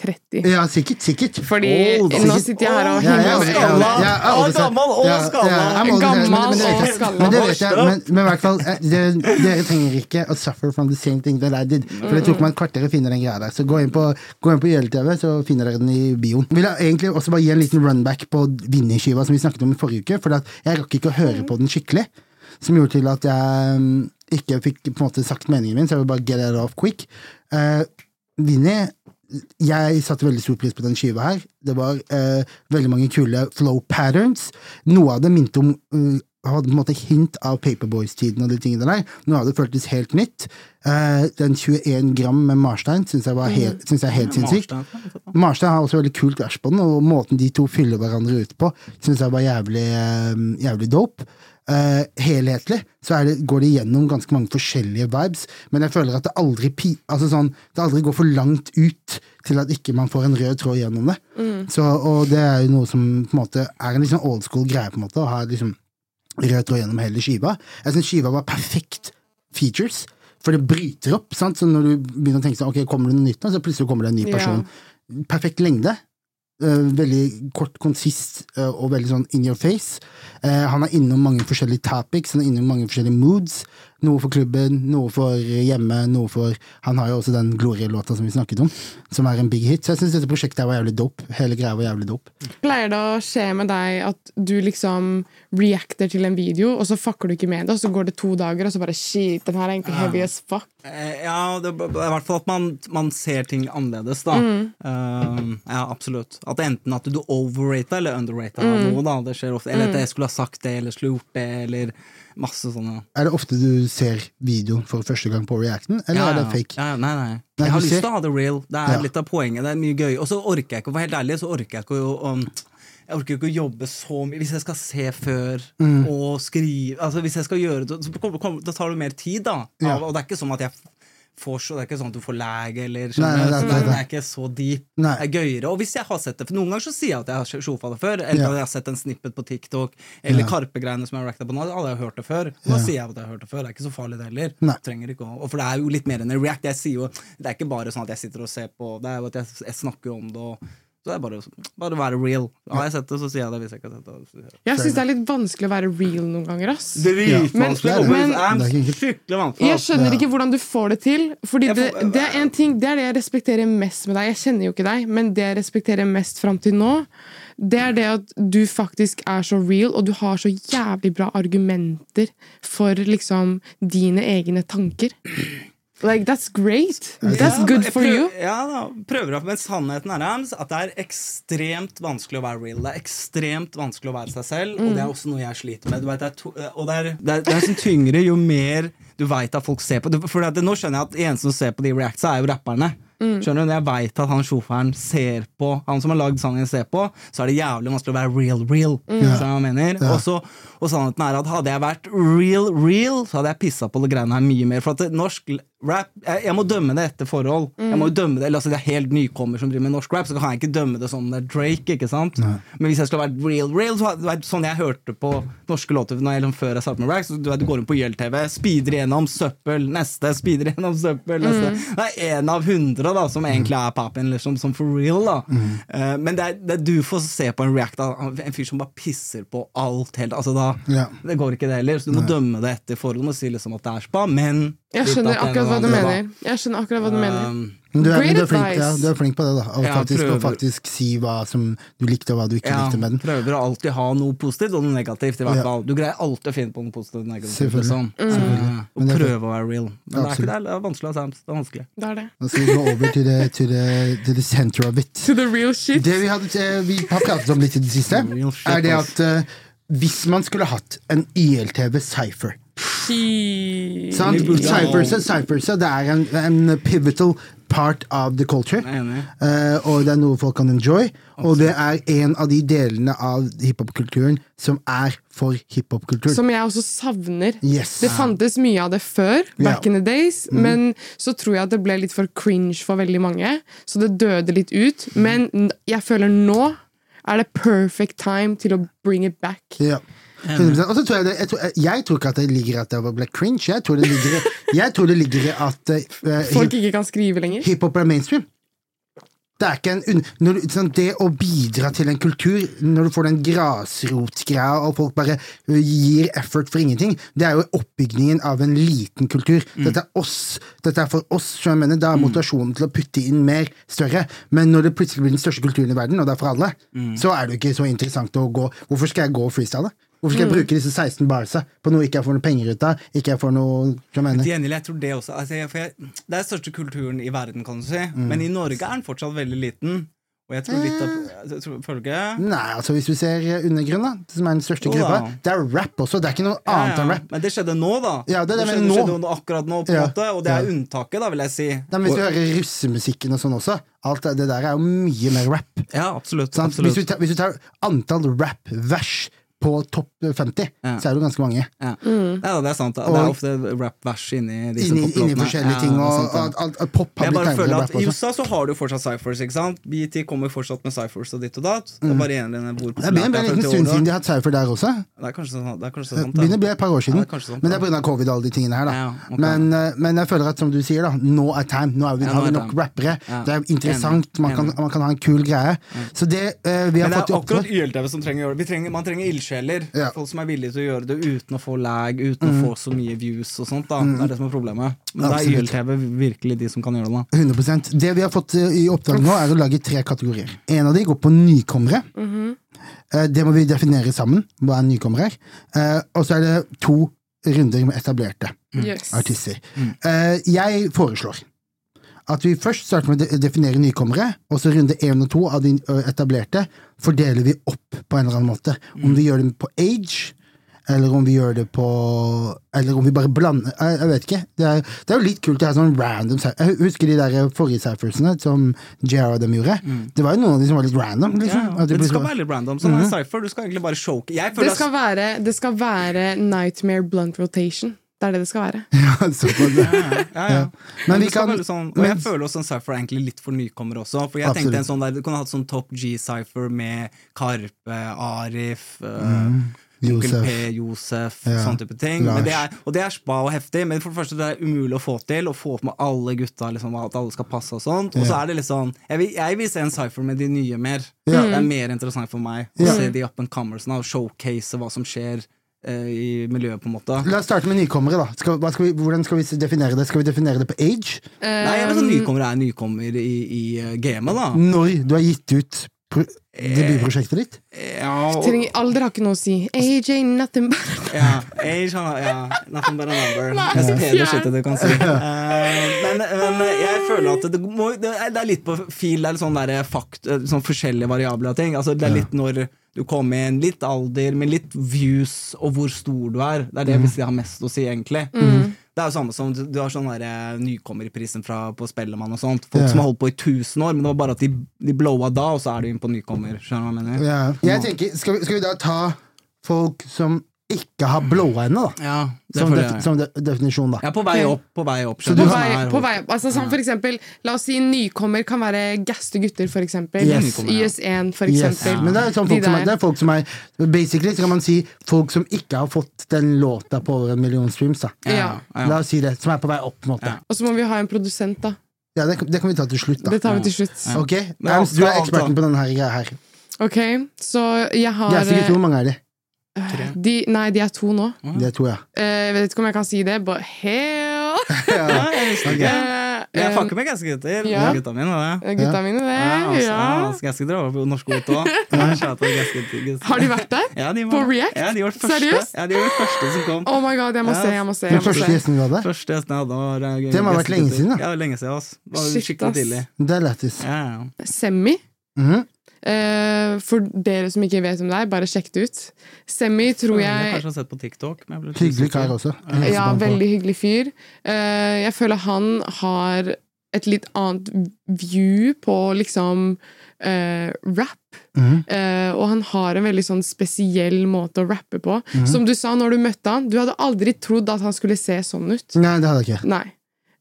E: 30.
C: Ja, sikkert. Sikkert.
E: Fordi
D: Old,
E: nå
D: sikkert.
E: sitter jeg her og
C: Ja, ja,
E: hinger
C: ja,
E: med
C: ja, ja, ja,
D: Og
C: aldri sett.
D: gammel og
C: Ja, ja,
D: skalla.
C: ja, I'm older, men-
E: Gammel
C: men det vet
E: og
C: jeg.
E: skalla.
C: Men det vet jeg, men, men i hvert fall, eh, det- dere trenger ikke å suffer from the same thing that I did. For det tok meg et kvarter å finne den greia der. Så gå inn på, gå inn på YLTV, så finner dere den i bioen. Vil jeg egentlig også bare gi en liten runback på vinnerskiva som vi snakket om i forrige uke, for at jeg rakk ikke å høre på den skikkelig. Som gjorde til at jeg mm, ikke fikk på en måte sagt meningen min, så jeg vil bare get it off quick. Eh, Vinni jeg satte veldig stor pris på den skiva her. Det var eh, veldig mange kule flow patterns. Noe av det minte om eh, hadde på en måte hint av Paperboys-tiden og de tingene der. Noe av det føltes helt nytt. Eh, den 21 gram med Marstein syns jeg, var helt- synes jeg er helt sinnssykt. Marstein har også veldig kult vers på den, og måten de to fyller hverandre ut på, syns jeg var jævlig, eh, jævlig dope. Eh, helhetlig så er det, går det gjennom ganske mange forskjellige vibes, men jeg føler at det aldri, pi, altså sånn, det aldri går for langt ut til at ikke man får en rød tråd gjennom det. Så, og det er jo noe som på en måte er en liksom old school greie, på en måte, å ha liksom rød tråd gjennom hele skiva. Jeg syns skiva var perfekt features, for det bryter opp. sant? Så når du begynner å tenke sånn, ok, kommer det noe nytt nå, så plutselig kommer det en ny
E: Ja.
C: person. Perfekt lengde. eh, veldig kort, konsist eh, og veldig sånn in your face. Eh, han er innom mange forskjellige topics, han er innom mange forskjellige moods. Noe for klubben, noe for hjemme, noe for Han har jo også den Glorie-låta som vi snakket om, som er en big hit. Så jeg syns dette prosjektet her var jævlig dope. Hele greia var jævlig dope.
E: Pleier det å skje med deg at du liksom reacter til en video, og så fucker du ikke med det, og så går det to dager, og så bare shit, den her er egentlig heavy as fuck.
D: Eh, Ja, det er i hvert fall at man, man ser ting annerledes, da. Eh, ja, absolutt. At det er enten at du overrata eller underrata noe, da. Det skjer ofte. Eller at jeg skulle ha sagt det, eller skulle gjort det, eller masse sånne
C: Er det ofte du ser videoen for første gang på Reacten, eller er det fake?
D: Ja, ja, nei, nei.
C: Nei,
D: Jeg har
C: du
D: lyst
C: ser-
D: til å ha det real. Det er
C: Ja.
D: litt av poenget. Det er mye gøy. Og så orker jeg ikke, for helt ærlig, så orker jeg ikke å um, jeg orker ikke å jobbe så mye Hvis jeg skal se før
C: Mm.
D: og skrive altså Hvis jeg skal gjøre det, så kommer- kommer- Da tar det mer tid, da.
C: Ja.
D: Av, og det er ikke sånn at jeg får så Det er ikke sånn at du får lag
C: Nei,
D: eller
C: nei,
D: skjønner
C: nei,
D: du? Så
C: nei,
D: det er-
C: nei.
D: Det er ikke så deep.
C: Nei.
D: Det er gøyere. Og hvis jeg har sett det For noen ganger så sier jeg at jeg har sjofa det før. Eller
C: Ja.
D: at jeg har sett en snippet på TikTok, eller
C: Ja.
D: Karpe-greiene som jeg har racka på nå. Da hadde jeg hørt det før. Og da sier jeg at jeg har hørt det før. Det er ikke så farlig, det heller.
C: Nei.
D: Trenger ikke å, og for det er jo litt mer enn en react. Jeg sier jo, det er ikke bare sånn at jeg sitter og ser på, det er jo at jeg, jeg snakker jo om det. Og, så det er bare, bare å være real. Har jeg sett det, så sier jeg det. Hvis jeg ikke har sett det, så sier jeg det.
E: Jeg syns det er litt vanskelig å være real noen ganger, ass. Men-
D: Dritvanskelig.
E: men-
D: kompis. Det er
C: Det er ikke-
D: Skikkelig vanskelig.
E: Jeg skjønner ikke hvordan du får det til. Fordi
D: Jeg
E: det,
D: får-
E: det er en ting, det er det jeg respekterer mest med deg. Jeg kjenner jo ikke deg, men det jeg respekterer mest fram til nå, det er det at du faktisk er så real, og du har så jævlig bra argumenter for liksom dine egne tanker. Like, that's great. That's
D: Ja,
E: good
D: jeg
E: for
D: prøv-
E: you.
D: Ja da, prøver å Men sannheten er Rams, at det er ekstremt vanskelig å være real. Det er ekstremt vanskelig å være seg selv, og
E: Mm.
D: det er også noe jeg sliter med. Du vet, det er to, eh, og det er, det er, det er sånn tyngre jo mer du veit at folk ser på. Du- For at, nå skjønner jeg at de eneste som ser på de reactsa, er jo rapperne.
E: Mm.
D: Skjønner du? Når jeg veit at han sjåføren ser på, han som har lagd sangen, ser på, så er det jævlig vanskelig å være real, real.
E: Mm.
D: Skjønner du hva jeg mener? Og så- og sannheten er at hadde jeg vært real, real, så hadde jeg pissa på det greiene her mye mer. For at det, norsk rap Jeg, jeg må dømme det etter forhold. Jeg må jo dømme Det eller, altså, det er helt nykommer som driver med norsk rap, så kan jeg ikke dømme det som det er Drake. ikke sant? Men hvis jeg skulle vært real, real, så hadde det vært sånn jeg hørte på norske låter når jeg, liksom, før jeg startet med rap. Så du, vet, du går inn på YLTV, speeder igjennom søppel, neste, speeder igjennom søppel, neste. Det er én av hundre da, som egentlig er pappen, liksom, som for real. da. Eh, men det er, det er du får se på en react av en fyr som bare pisser på alt helt altså da,
C: Ja.
D: Det går ikke, det heller. Så du må dømme det etter forhold. Du må si liksom at det er spa, men
E: Jeg
D: uten
E: skjønner
D: at det er
E: akkurat
D: noe
E: hva du
D: annet, da.
E: mener. Jeg skjønner akkurat hva du mener.
D: Um,
C: Men Du er, men
E: Great
C: du, er flink,
E: advice.
C: ja, du er flink på det, da. Å
D: Ja,
C: faktisk, å
D: prøver.
C: faktisk si hva som du likte, og hva du ikke
D: ja,
C: likte med den.
D: prøver å alltid ha noe positivt og noe negativt. i hvert
C: Ja.
D: fall Du greier alltid å finne på noe positivt og negativt.
C: Selvfølgelig.
D: liksom. Eh,
C: Men
D: og
C: det er-
D: prøve å være real. Men det er, ikke
C: Absolutt.
D: det, det er vanskelig. Sam. Det er vanskelig.
E: Det er det.
C: Nå skal vi gå over til det, til det, til det center of it.
E: To the real shit.
C: Det vi, hadde, eh, vi har pratet om litt i det siste,
D: Real Mm, shit,
C: er det
D: ass.
C: at eh, hvis man skulle hatt en YLTV-cypher
E: Shit.
C: Sant?
D: Liverpool.
C: Cyprus, Cyprus, det er en, en pivotal part of the culture.
D: Jeg er enig.
C: Eh, og det er noe folk kan enjoy. Og det er en av de delene av hiphop-kulturen som er for hiphop-kulturen.
E: Som jeg også savner.
C: Yes.
E: Det fantes mye av det før, back
C: Ja. Mhm.
E: in the days, men så tror jeg at det ble litt for cringe for veldig mange, så det døde litt ut.
C: Mhm.
E: Men n- jeg føler nå er det perfect time til å bring it back.
C: Ja. 100%. Og så tror jeg, det, jeg, tror, jeg tror ikke at det ligger i at det ble cringe. Jeg tror det ligger, i- jeg tror det ligger i at eh,
E: Folk ikke kan skrive lenger.
C: hiphop er mainstream. Det er ikke en un når du, sånn, Det å bidra til en kultur, når du får den grasrotgreia og folk bare ø, gir effort for ingenting, det er jo oppbygningen av en liten kultur. Dette er oss. Dette er for oss. Så jeg mener, da er motivasjonen til å putte inn mer større. Men når det plutselig blir den største kulturen i verden, og det er for alle, så er det jo ikke så interessant å gå Hvorfor skal jeg gå og freestyle? Hvorfor skal jeg bruke disse 16 barsa på noe ikke jeg får noe penger ut av? Ikke jeg får noe Hva mener
D: Til gjengjeld, jeg tror det også altså, jeg, for jeg, Det er den største kulturen i verden, kan du si.
C: Mm.
D: Men i Norge er den fortsatt veldig liten. Og jeg tror litt
C: Mm.
D: av jeg tror, Føler du ikke?
C: Nei, altså hvis vi ser eh, undergrunn, da, som er den største
D: Jo da.
C: gruppa, det er rap også. Det er ikke noe annet
D: Ja, ja.
C: enn rap.
D: Men det skjedde nå, da.
C: Ja, det er det
D: skjedde,
C: jeg mener nå.
D: skjedde jo akkurat nå, på en
C: Ja.
D: måte, og det er
C: Ja.
D: unntaket, da, vil jeg si.
C: Nei, men hvis du hører russemusikken og sånn også, alt det, det der er jo mye mer rap.
D: Ja, absolutt.
C: Sant?
D: absolutt.
C: Hvis, du tar, hvis du tar antall rap-vers på topp 50,
D: Ja.
C: så er det jo ganske mange.
D: Ja. Nei, da, det er sant. Da. Det
C: Og-
D: er ofte rap-vers inni disse
C: Inni, inni
D: poplåtene.
C: forskjellige
D: Ja,
C: ting,
D: det er
C: og,
D: sant, ja.
C: alt- alt- alt pop har blitt
D: jeg bare
C: tegnet
D: føler
C: med
D: at
C: rap
D: I
C: også.
D: USA så har du jo fortsatt cyphers, ikke sant? BT kommer fortsatt med cyphers og ditt og datt. Det er bare igjen hvor
C: Mm. Det begynner å bli en liten stund siden de har hatt sauer der også.
D: Det er kanskje sånn, det er
C: Det
D: kanskje sant. da.
C: begynner å bli et par år siden.
D: Ja, det er kanskje sant,
C: men det er pga.
D: ja.
C: covid og alle de tingene her. Da.
D: Ja, ok.
C: men, eh, men jeg føler at som du sier, da, nå er time. Nå er vi,
D: Ja, nå
C: har vi
D: er
C: nok
D: time.
C: rappere.
D: Ja.
C: Det er interessant, man kan, man kan ha en kul greie. Så det eh, vi har
D: Men det
C: fått
D: er
C: i
D: akkurat
C: oppdrag
D: YLTV som trenger å gjøre det. Vi trenger, man trenger ildsjeler.
C: Ja. Mm.
D: Folk som er villige til å gjøre det uten å få lag, uten å få så mye views og sånt. da Det er det som er problemet. Men da er
C: Absolutt.
D: YLTV virkelig de som kan gjøre det. da
C: 100 Det vi har fått eh, i oppdrag nå, er å lage tre kategorier. En av de går på nykommere. Eh, Det må vi definere sammen, hva en nykommer er. Eh, Og så er det to runder med etablerte.
E: Yes.
C: artister. Eh, jeg foreslår at vi først starter med å de- definere nykommere, og så runde én og to av de ø, etablerte fordeler vi opp på en eller annen måte. Om vi gjør det på age, eller om vi gjør det på Eller om vi bare blander Jeg, jeg vet ikke. Det er, det er jo litt kult å ha sånn random cy- Jeg husker de der forrige cyphersene som JR og dem gjorde. Det var jo noen av de som var litt random.
D: Ja,
C: Liksom.
D: Mm. ja.
C: At de
D: Men det skal
C: plutselig-
D: være litt random. Sånn er
C: Mm-hmm.
D: en cypher. Du skal egentlig bare choke. Jeg føler
E: Det
D: at-
E: skal, være, det skal være Nightmare Blunt Rotation. Det er det det skal være.
C: Ja, såpass.
D: ja, ja.
C: Men
D: Men
C: vi
D: det skal
C: kan-
D: være sånn, og
C: men-
D: jeg føler også en cypher er egentlig litt for nykommere også. For jeg
C: Absolutt.
D: tenkte en sånn der, Du kunne hatt sånn Top G-cypher med Karpe, Arif, eh,
C: Mm,
D: Onkel
C: Josef.
D: P, Josef,
C: Ja.
D: sånn type ting.
C: Lars.
D: Men det er, og det er spa og heftig, men for det første det er umulig å få til. Å få med alle gutta, liksom, at alle skal passe og sånt. Og så er det litt sånn Jeg vil, jeg vil se en cypher med de nye mer. Det er mer interessant for meg å
C: Ja.
D: se de up and comersene og showcase hva som skjer eh, i miljøet, på en måte.
C: La oss starte med nykommere, da. Skal, hva skal vi, hvordan skal vi definere det? Skal vi definere det på age?
D: Nei, jeg vet at nykommere er nykommer i, i eh, gamet, da.
C: når du har gitt ut pro debutprosjektet ditt.
D: Ja, og,
E: Trenger, alder har ikke noe å si. AJ, nothing but
D: ja, age, han, har- ja, nothing but a number.
E: Nei,
D: Mest pene
E: fjern.
D: skittet du kan si. Eh, men, men jeg føler at det, må, det, er, det er litt på fil, det er litt sånn der fakt, eh, sånn forskjellige variabler og ting. Altså, det er litt når du kommer inn, litt alder, men litt views og hvor stor du er. Det er det
C: Mhm.
D: hvis jeg har mest å si, egentlig. Det er jo samme som du, du har sånn der, eh, nykommerprisen fra, på Spellemann og sånt. Folk
C: Ja.
D: som har holdt på i 1000 år, men det var bare at de, de blowa da, og så er du inne på nykommer. Skjønner du hva jeg mener?
C: Jeg tenker, skal vi, skal vi da ta folk som ikke har blå øyne, da.
D: Ja, det
C: Som,
D: føler
C: def
D: jeg.
C: som de definisjon, da.
D: Ja, på vei opp. På vei opp.
C: Så du
E: På
D: skjønner
E: vei,
D: jeg.
E: på vei opp. Altså, sånn for eksempel, la oss si nykommer kan være gaste gutter, for eksempel.
C: Yes.
E: IS1, for
C: Yes.
E: eksempel.
C: Men det er, sånn
E: De
C: folk som er,
E: der.
C: det er folk som er Basically så kan man si folk som ikke har fått den låta på over en million streams. da
E: Ja.
D: Ja.
C: La oss si det. Som er på vei opp, på en måte.
D: Ja.
E: Og så må vi ha en produsent, da.
C: Ja, det, det kan vi ta til slutt, da.
E: Det tar vi til slutt.
C: Ok,
D: Men alt
C: Ernst, Du er
D: skal-
C: eksperten på denne her greia her.
E: Ok, så jeg har
C: Jeg er sikkert hvor mange er de?
E: eh, de, Nei, de er to nå.
C: Det er to, ja.
E: Eh, Jeg vet ikke om jeg kan si det, but hell!
D: Ja, jeg visste ikke.
E: Eh,
D: Jeg
E: eh,
D: fucker med ganske gutter.
E: ja.
D: Det er Gutta mine, det.
E: Gutta mine, det.
D: Ja, altså,
E: Ja.
D: altså, ganske drar over på norsk godt òg.
E: Har de vært der?
D: Ja, de var,
E: På React?
D: Ja, de var første,
E: Seriøst?
D: Ja, de var første som kom.
E: Oh my god, jeg må
D: Ja.
E: se, jeg må se.
C: Den
E: Jeg må
C: første
E: se.
C: gjesten vi hadde?
D: Første gjesten jeg hadde, var eh,
C: Det må ha vært
D: gjesten
C: lenge
D: Gutter.
C: siden, da.
D: Ja, lenge siden, ass. Det var
E: Shit,
D: skikkelig
E: ass.
D: tidlig.
C: Det er lættis.
D: Ja, ja.
E: Semmi.
C: Mhm.
E: Eh, for dere som ikke vet om det er, bare sjekk det ut. Semmi tror
D: Jeg har
E: jeg
D: kanskje sett på TikTok. Men jeg ble litt
C: Hyggelig
D: usikker.
C: kar også.
E: Ja, veldig hyggelig fyr. Eh, jeg føler han har et litt annet view på liksom eh, rap.
C: Mhm.
E: Eh, og han har en veldig sånn spesiell måte å rappe på.
C: Mhm.
E: Som du sa når du møtte han, du hadde aldri trodd at han skulle se sånn ut.
C: Nei, det hadde jeg ikke.
E: Nei.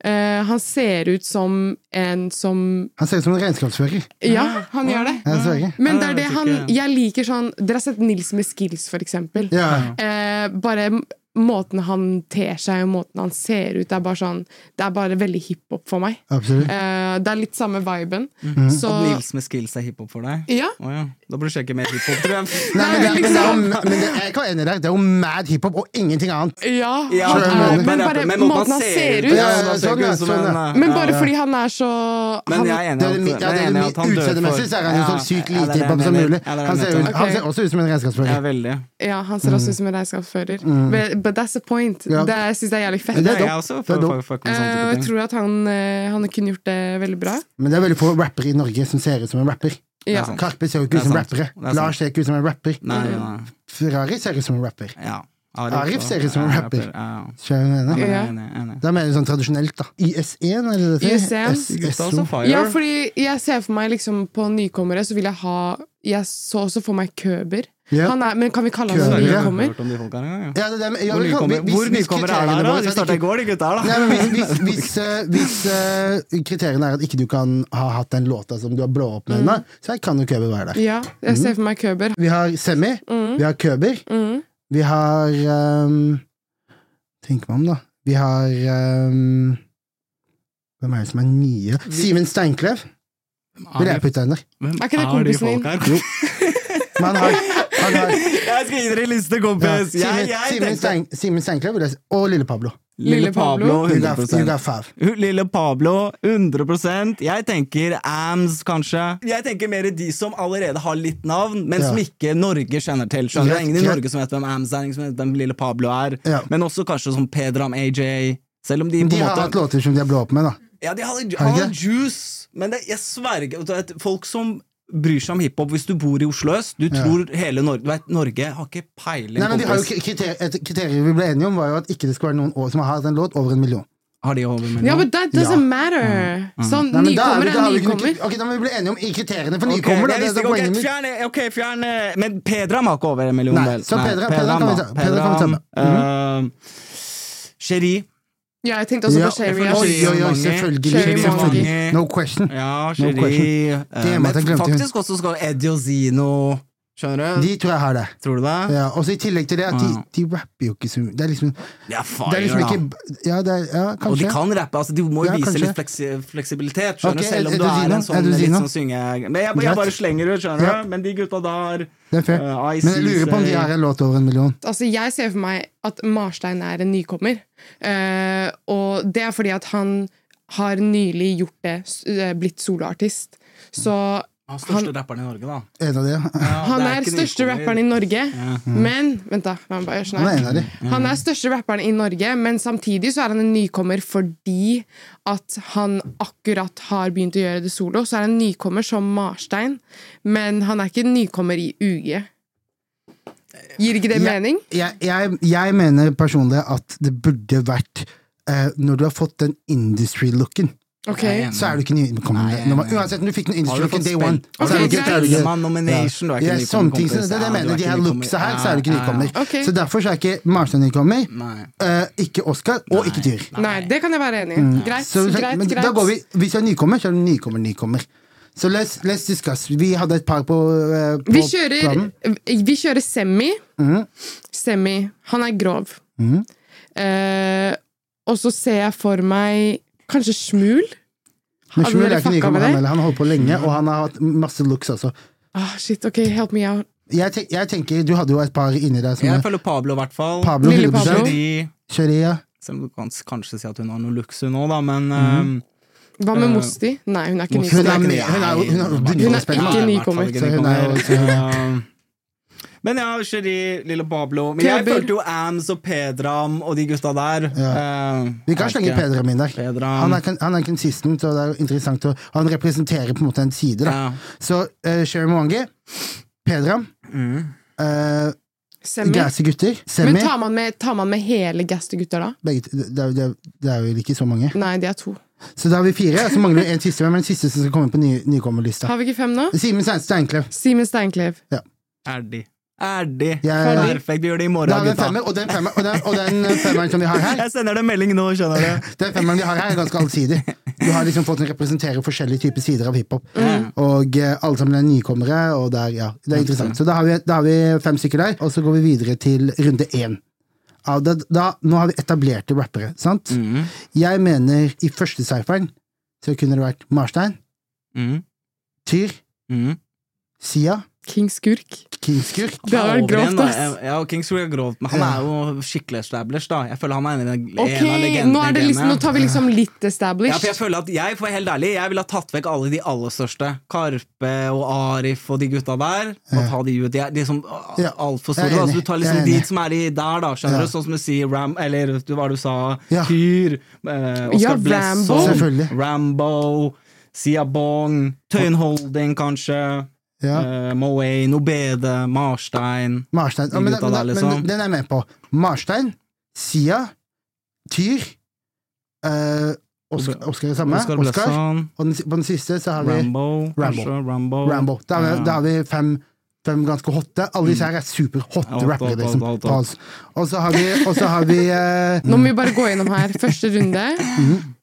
E: Eh, han ser ut som en som
C: Han ser ut som en regnskapsfører.
E: Ja, han gjør det.
C: Jeg ser ikke.
E: Men
D: Ja,
E: det er det
D: Ah, jeg vet
E: han
D: ikke.
E: Jeg liker sånn Dere har sett Nils med skills, for eksempel.
C: Ja.
E: Eh, bare m- måten han ter seg og måten han ser ut, det er bare sånn Det er bare veldig hiphop for meg.
C: Absolutt.
E: Eh, det er litt samme viben. Så
D: At Nils med skills er hiphop for deg?
E: Ja.
D: Å ja. Da burde du sjekke mer hiphop, tror jeg.
C: Nei, men, det, men, det er, jo
E: liksom-
C: ma- men det, jeg kan være enig i deg. Det er jo mad hiphop og ingenting annet.
E: Ja,
D: Ja,
E: han
C: skjønner
E: er,
C: du.
E: men bare måten han ser
C: Ja,
E: ut.
C: ja,
D: han ser
C: sånn,
D: ikke
C: ja,
D: ut som
C: sånn,
D: en,
C: ja.
D: eh,
E: Men
D: ja.
E: bare fordi han er så
D: Men
E: han,
D: jeg er enig
C: Det er det, mi-
D: i at-
C: ja, det,
D: jeg
C: er
D: enig
C: det,
D: i at han
C: mi-
D: dør for-
C: Utseendemessig så er han jo
D: Ja,
C: sånn sykt
D: ja, det er
C: lite
D: det jeg
C: hiphop som
D: mener.
C: mulig.
D: Ja, det er det
C: Han
D: jeg
C: ser,
D: mener.
C: ut, han
E: Ok.
C: ser også ut som en
D: Ja,
C: regnskapsfører.
D: veldig.
E: Ja, han ser
D: Mm.
E: også ut som en regnskapsfører. But, but that's the point.
C: Ja.
E: Det syns jeg er jævlig fett.
C: Men det
D: Ja,
C: er
D: jeg
C: dumt.
D: også
C: Det er
D: får-
C: dumt.
D: får- får ikke med sånne
E: Eh,
D: sånn type
E: og jeg
D: ting.
E: tror at han, eh, han kunne gjort det veldig bra.
C: Men det er veldig få rappere i Norge som ser ut som en rapper.
E: Ja.
D: sant.
C: Karpe ser jo
D: Det
C: ikke
D: er
C: ut som
D: sant.
C: rappere.
D: Det er sant.
C: Lars ser ikke ut som en rapper.
D: Nei, nei, nei.
C: Ferrari ser ut som en rapper.
D: Ja.
C: Arif ser ut som en
D: Ja,
C: rapper.
D: Ja, ja.
C: Skjønner du hva jeg mener?
E: Ja.
D: Jeg er enig, jeg er enig.
C: Da mener du sånn tradisjonelt, da. IS1, er det det?
E: IS1.
D: Gutta også
C: S1.
D: fire.
E: Ja, fordi jeg ser for meg liksom på nykommere så vil jeg ha Jeg så også for meg Køber.
C: Ja.
E: Han er, men kan vi kalle
D: Så
E: han
D: er
E: en
C: Køber, ja.
D: det jo- Jeg har
E: nykommer?
D: hørt om de folka her en gang, ja.
C: Ja, det, det, ja,
D: Hvor
C: vi kan-
D: nykommer-
C: hvis-
D: hvor
C: hvis
D: nykommere er
C: kriteriene
D: der, da?
C: våre
D: De
C: er
D: starta i
C: ikke-
D: går, de gutta her, da.
C: Nei, men hvis, hvis, hvis, eh, hvis eh, kriteriene er at ikke du kan ha hatt den låta som du har blå opp med ennå, så kan jo Køber være der.
E: Ja, jeg ser for meg Køber.
C: Vi har Semi, vi har Køber, vi har um, Tenk meg om, da. Vi har ehm, Hvem er det som er nye? Simen Steinklev vil jeg putte under.
D: Hvem
E: Er ikke det
D: de
E: kompisen
D: folka
E: din?
D: her?
C: Men han har, han har
D: Jeg skal gi dere en liste,
C: ja,
D: kompis! Jeg,
C: Simen-
D: jeg
C: Simen
D: tenkte
C: Stein- Simen Steinklev vil jeg si. Og Lille Pablo.
D: Lille Pablo,
C: You got, you
D: 100
C: got five.
D: Hun- Lille Pablo, 100 Jeg tenker AMS, kanskje. Jeg tenker mer de som allerede har litt navn, men
C: Ja.
D: som ikke Norge kjenner til. Skjønner du? Det er Ingen i
C: Ja.
D: Norge som vet hvem AMS er, ingen som vet hvem Lille Pablo er.
C: Ja.
D: Men også kanskje som Pedram AJ. Selv om de på
C: De
D: en
C: har hatt
D: måte
C: låter som de har blå opp med, da.
D: Ja, de hadde,
C: Har de
D: hadde
C: det?
D: juice, men det, jeg sverger vet du, at Folk som bryr seg om hiphop hvis du bor i Oslo øst Du tror hele Norge Du vet, Norge har ikke peiling.
C: Nei, men de har jo
D: kompis.
C: kri- kriterier, Et kriterium vi ble enige om, var jo at ikke det skulle være noen år som har hatt en låt over en million.
D: Har de over med
E: Ja,
D: noe?
C: Mm.
E: but that doesn't matter! Sånn,
C: Nei, men da er
E: nykommer
C: vi- da
E: er
C: har vi ikke noe
E: nykommer.
C: kri- Ok, Da må vi bli enige om i kriteriene for
D: Ok,
C: nykommer. da,
D: jeg
C: det er
D: visste
C: det
D: ikke, ok,
C: poenget mitt.
D: fjern, ok, fjern eh, Men Pedram har ikke over en million,
C: Nei,
D: vel?
C: så Pedram- Pedram kan vi ta- Pedram kan vi ta Mm-hmm. med.
D: ehm, Sherry.
E: Ja, jeg tenkte også
C: Ja,
E: på Sherry.
D: jeg får
E: ass.
D: si-
C: Oi, oi, oi,
D: Mange.
C: selvfølgelig.
E: Cherry
C: selvfølgelig.
D: Mange.
C: No question.
D: Ja,
C: No
D: Sherry.
C: question.
D: eh,
C: Det er med at jeg
D: men
C: glemte hun.
D: faktisk også skal Eddie og Zino. Skjønner du?
C: De tror jeg har det.
D: Tror du det? Mm.
C: Ja, og så I tillegg til det at de,
D: Ja.
C: de rapper jo ikke så mye. Det er liksom,
D: Det er
C: det er
D: fire,
C: liksom
D: da.
C: ikke Ja, det er, ja
D: Og de
C: kanskje.
D: kan rappe. altså De må jo
C: Ja,
D: vise
C: kanskje.
D: litt fleksi fleksibilitet, skjønner
C: Ok,
D: du, selv om
C: er
D: du
C: du
D: er
C: Zino?
D: en
C: Er
D: sånn
C: du
D: litt
C: Zino?
D: sånn synge... Men jeg, jeg bare
C: Greit.
D: slenger ut, skjønner
C: Ja.
D: du. Men de gutta der
C: Det er fair.
D: eh, I
C: Men jeg
D: see,
C: lurer på om de
D: say-
C: har en låt over en million.
E: Altså, jeg ser for meg at Marstein er en nykommer. Eh, og det er fordi at han har nylig gjort det, s- eh, blitt soloartist. Så
D: Han største rapperen i Norge, da.
C: En av de, ja.
D: Ja,
E: Han
D: det
E: er
D: ikke
E: største
D: nykommer.
E: rapperen i Norge, men Vent, da. La meg bare gjøre sånn
C: Han er en av
E: her.
C: de.
E: Han er største rapperen i Norge, men samtidig så er han en nykommer fordi at han akkurat har begynt å gjøre det solo. Så er han en nykommer som Marstein, men han er ikke en nykommer i UG. Gir ikke det
C: Ja.
E: Eh, mening?
C: jeg, jeg, jeg mener personlig at det burde vært eh, Når du har fått den industry-looken
E: Ok.
C: så er du ikke nykommen.
D: Mm. Nei,
C: Når man-
D: nei.
C: Uansett om du fikk noe
D: Har
C: industry
D: du fått
C: from day
D: spill?
C: one.
D: Ok,
C: så er du ikke- så er du
E: greit.
C: ikke-
D: Man nomination, du er ikke
C: Ja,
D: nykommer,
C: sånne ting,
D: kompis.
C: så det er det jeg
D: Ja, du er
C: mener. De
D: ikke
C: her
D: nykommer.
C: looksa her, så
D: Ja,
C: er du ikke
D: ja, ja.
C: nykommer.
E: Ok.
C: Så derfor så er ikke Marstad nykommer,
D: Nei.
C: eh, ikke Oscar og ikke Tyr.
E: Nei, det kan jeg være enig i. Greit,
C: Mm. Så,
E: greit,
C: men
E: greit.
C: da går vi, Hvis du er nykommer, så er du nykommer, nykommer. Så let's, let's discuss. Vi hadde et par på, eh, på Mhm.
E: Vi kjører, vi kjører semi. Semi. Han er grov. Eh, og så ser jeg for meg kanskje Smul.
C: Men
E: Hadde
C: Shmuel
E: dere
C: er ikke
E: fucka med
C: nykommer,
E: det?
C: han heller. Han har holdt på lenge, og han har hatt masse looks også.
E: Ah, shit, ok, help me out.
C: Jeg, tenk, jeg tenker, Du hadde jo et par inni deg som er
D: Jeg føler Pablo, i hvert fall.
C: Pablo
E: Lille
C: 100
E: Pablo.
D: Fordi-
C: Sharia.
D: Selv om du kan s- kanskje si at hun har noe luxe nå, da, men
C: Mhm.
D: eh,
E: Hva med
D: Eh,
E: Mosti? Nei, hun er ikke
C: Hun er
E: nykommer.
C: med- hun er jo- hun er jo
D: Nei,
C: dritgod
E: Hun er spiller. ikke
D: i hvert fall
E: nykommer.
D: ikke
C: Så hun er jo-
D: nykommer. Eh, Men ja, Cherie, Lille Pablo Men jeg
E: Kleber.
D: følte jo Ams og Pedram og de gutta der.
C: Ja.
D: eh,
C: Vi kan
D: jeg
C: slenge
D: vet ikke.
C: Pedram inn der.
D: Pedram.
C: Han er, kon- han er consistent, og det er jo interessant. å- han representerer på en måte en side. Da.
D: Ja.
C: Så uh, Sherry Mwangi, Pedram, eh,
E: Mm. Semi.
C: Gassy gutter,
E: Men
C: Semi
E: tar man med, tar man med hele Gaster-gutter da?
C: begge, t- det, er, det, er, det er vel ikke så mange.
E: Nei, de er to.
C: Så da har vi fire, og så mangler vi en siste. Hvem er den siste som skal komme på ny, nykommerlista?
E: Har vi ikke fem nå?
C: Simen Stein- Steinklev.
E: Simen Steinklev.
D: Er de. Er de.
C: Jeg-
D: Perfekt. Vi gjør det
C: Da har
D: i morgen,
C: vi en
D: gutta.
C: femmer, og den, femmer, og, den, og den femmeren som vi har her,
D: Jeg sender deg en melding nå, skjønner du.
C: den femmeren vi har her er ganske allsidig. Du har liksom folk som representerer forskjellige typer sider av hiphop.
D: Mm.
C: Og eh, alle sammen er nykommere, og det er, ja, det er interessant. Så da har, vi, da har vi fem stykker der, og så går vi videre til runde én. Ja, da, da, nå har vi etablerte rappere, sant? Jeg mener i første cypheren så kunne det vært Marstein,
D: Mm.
C: Tyr,
D: Mm.
C: Sia,
E: King Skurk.
C: Kingskurk.
E: Det hadde vært
D: Over igjen,
E: grovt,
D: da.
E: ass.
D: Ja, og Kings Row er grovt, men han er jo skikkelig established, da. Jeg føler han er en, en
E: Ok,
D: av legendene.
E: nå, er det
D: i
E: liksom, nå
D: gamet.
E: tar vi liksom litt
D: ja, for jeg
E: established.
D: føler at jeg, for å være helt ærlig, jeg ville ha tatt vekk alle de aller største. Karpe og Arif og de gutta der. Og ta de ut. De er liksom
C: Ja. Jeg
D: altfor store.
C: er enig.
D: Altså, du
C: Jeg
D: tar
C: er
D: liksom
C: enig.
D: de som er i der, da. Skjønner
C: Ja.
D: du? Sånn som du sier Ram... Eller du- hva du sa?
C: Ja.
D: Tyr. Eh,
E: Ja,
D: Oscar Blesso.
E: Rambo.
C: Selvfølgelig.
D: Rambo. Sia Bong. Tøyen Holding, kanskje.
C: Ja.
D: Eh, Moe, Nobede, Marstein.
C: Marstein. Ja,
D: De
C: men,
D: gutta
C: men,
D: der, liksom.
C: men den er jeg med på. Marstein, Sia, Tyr eh, Oskar, Oskar er samme.
D: Oscar
C: Oskar.
D: Blesson.
C: Og den, si- på den siste så har vi Rambo.
D: Rambo, kanskje. Rambo.
C: Da har vi,
D: Ja.
C: da har vi fem, fem ganske hotte. Alle disse her er superhotte
D: Hot, hot,
C: rappere.
D: hot,
C: Liksom.
D: hot, hot.
C: Pause. Og så har vi, og så har vi eh,
E: Nå må vi bare gå gjennom her. Første runde.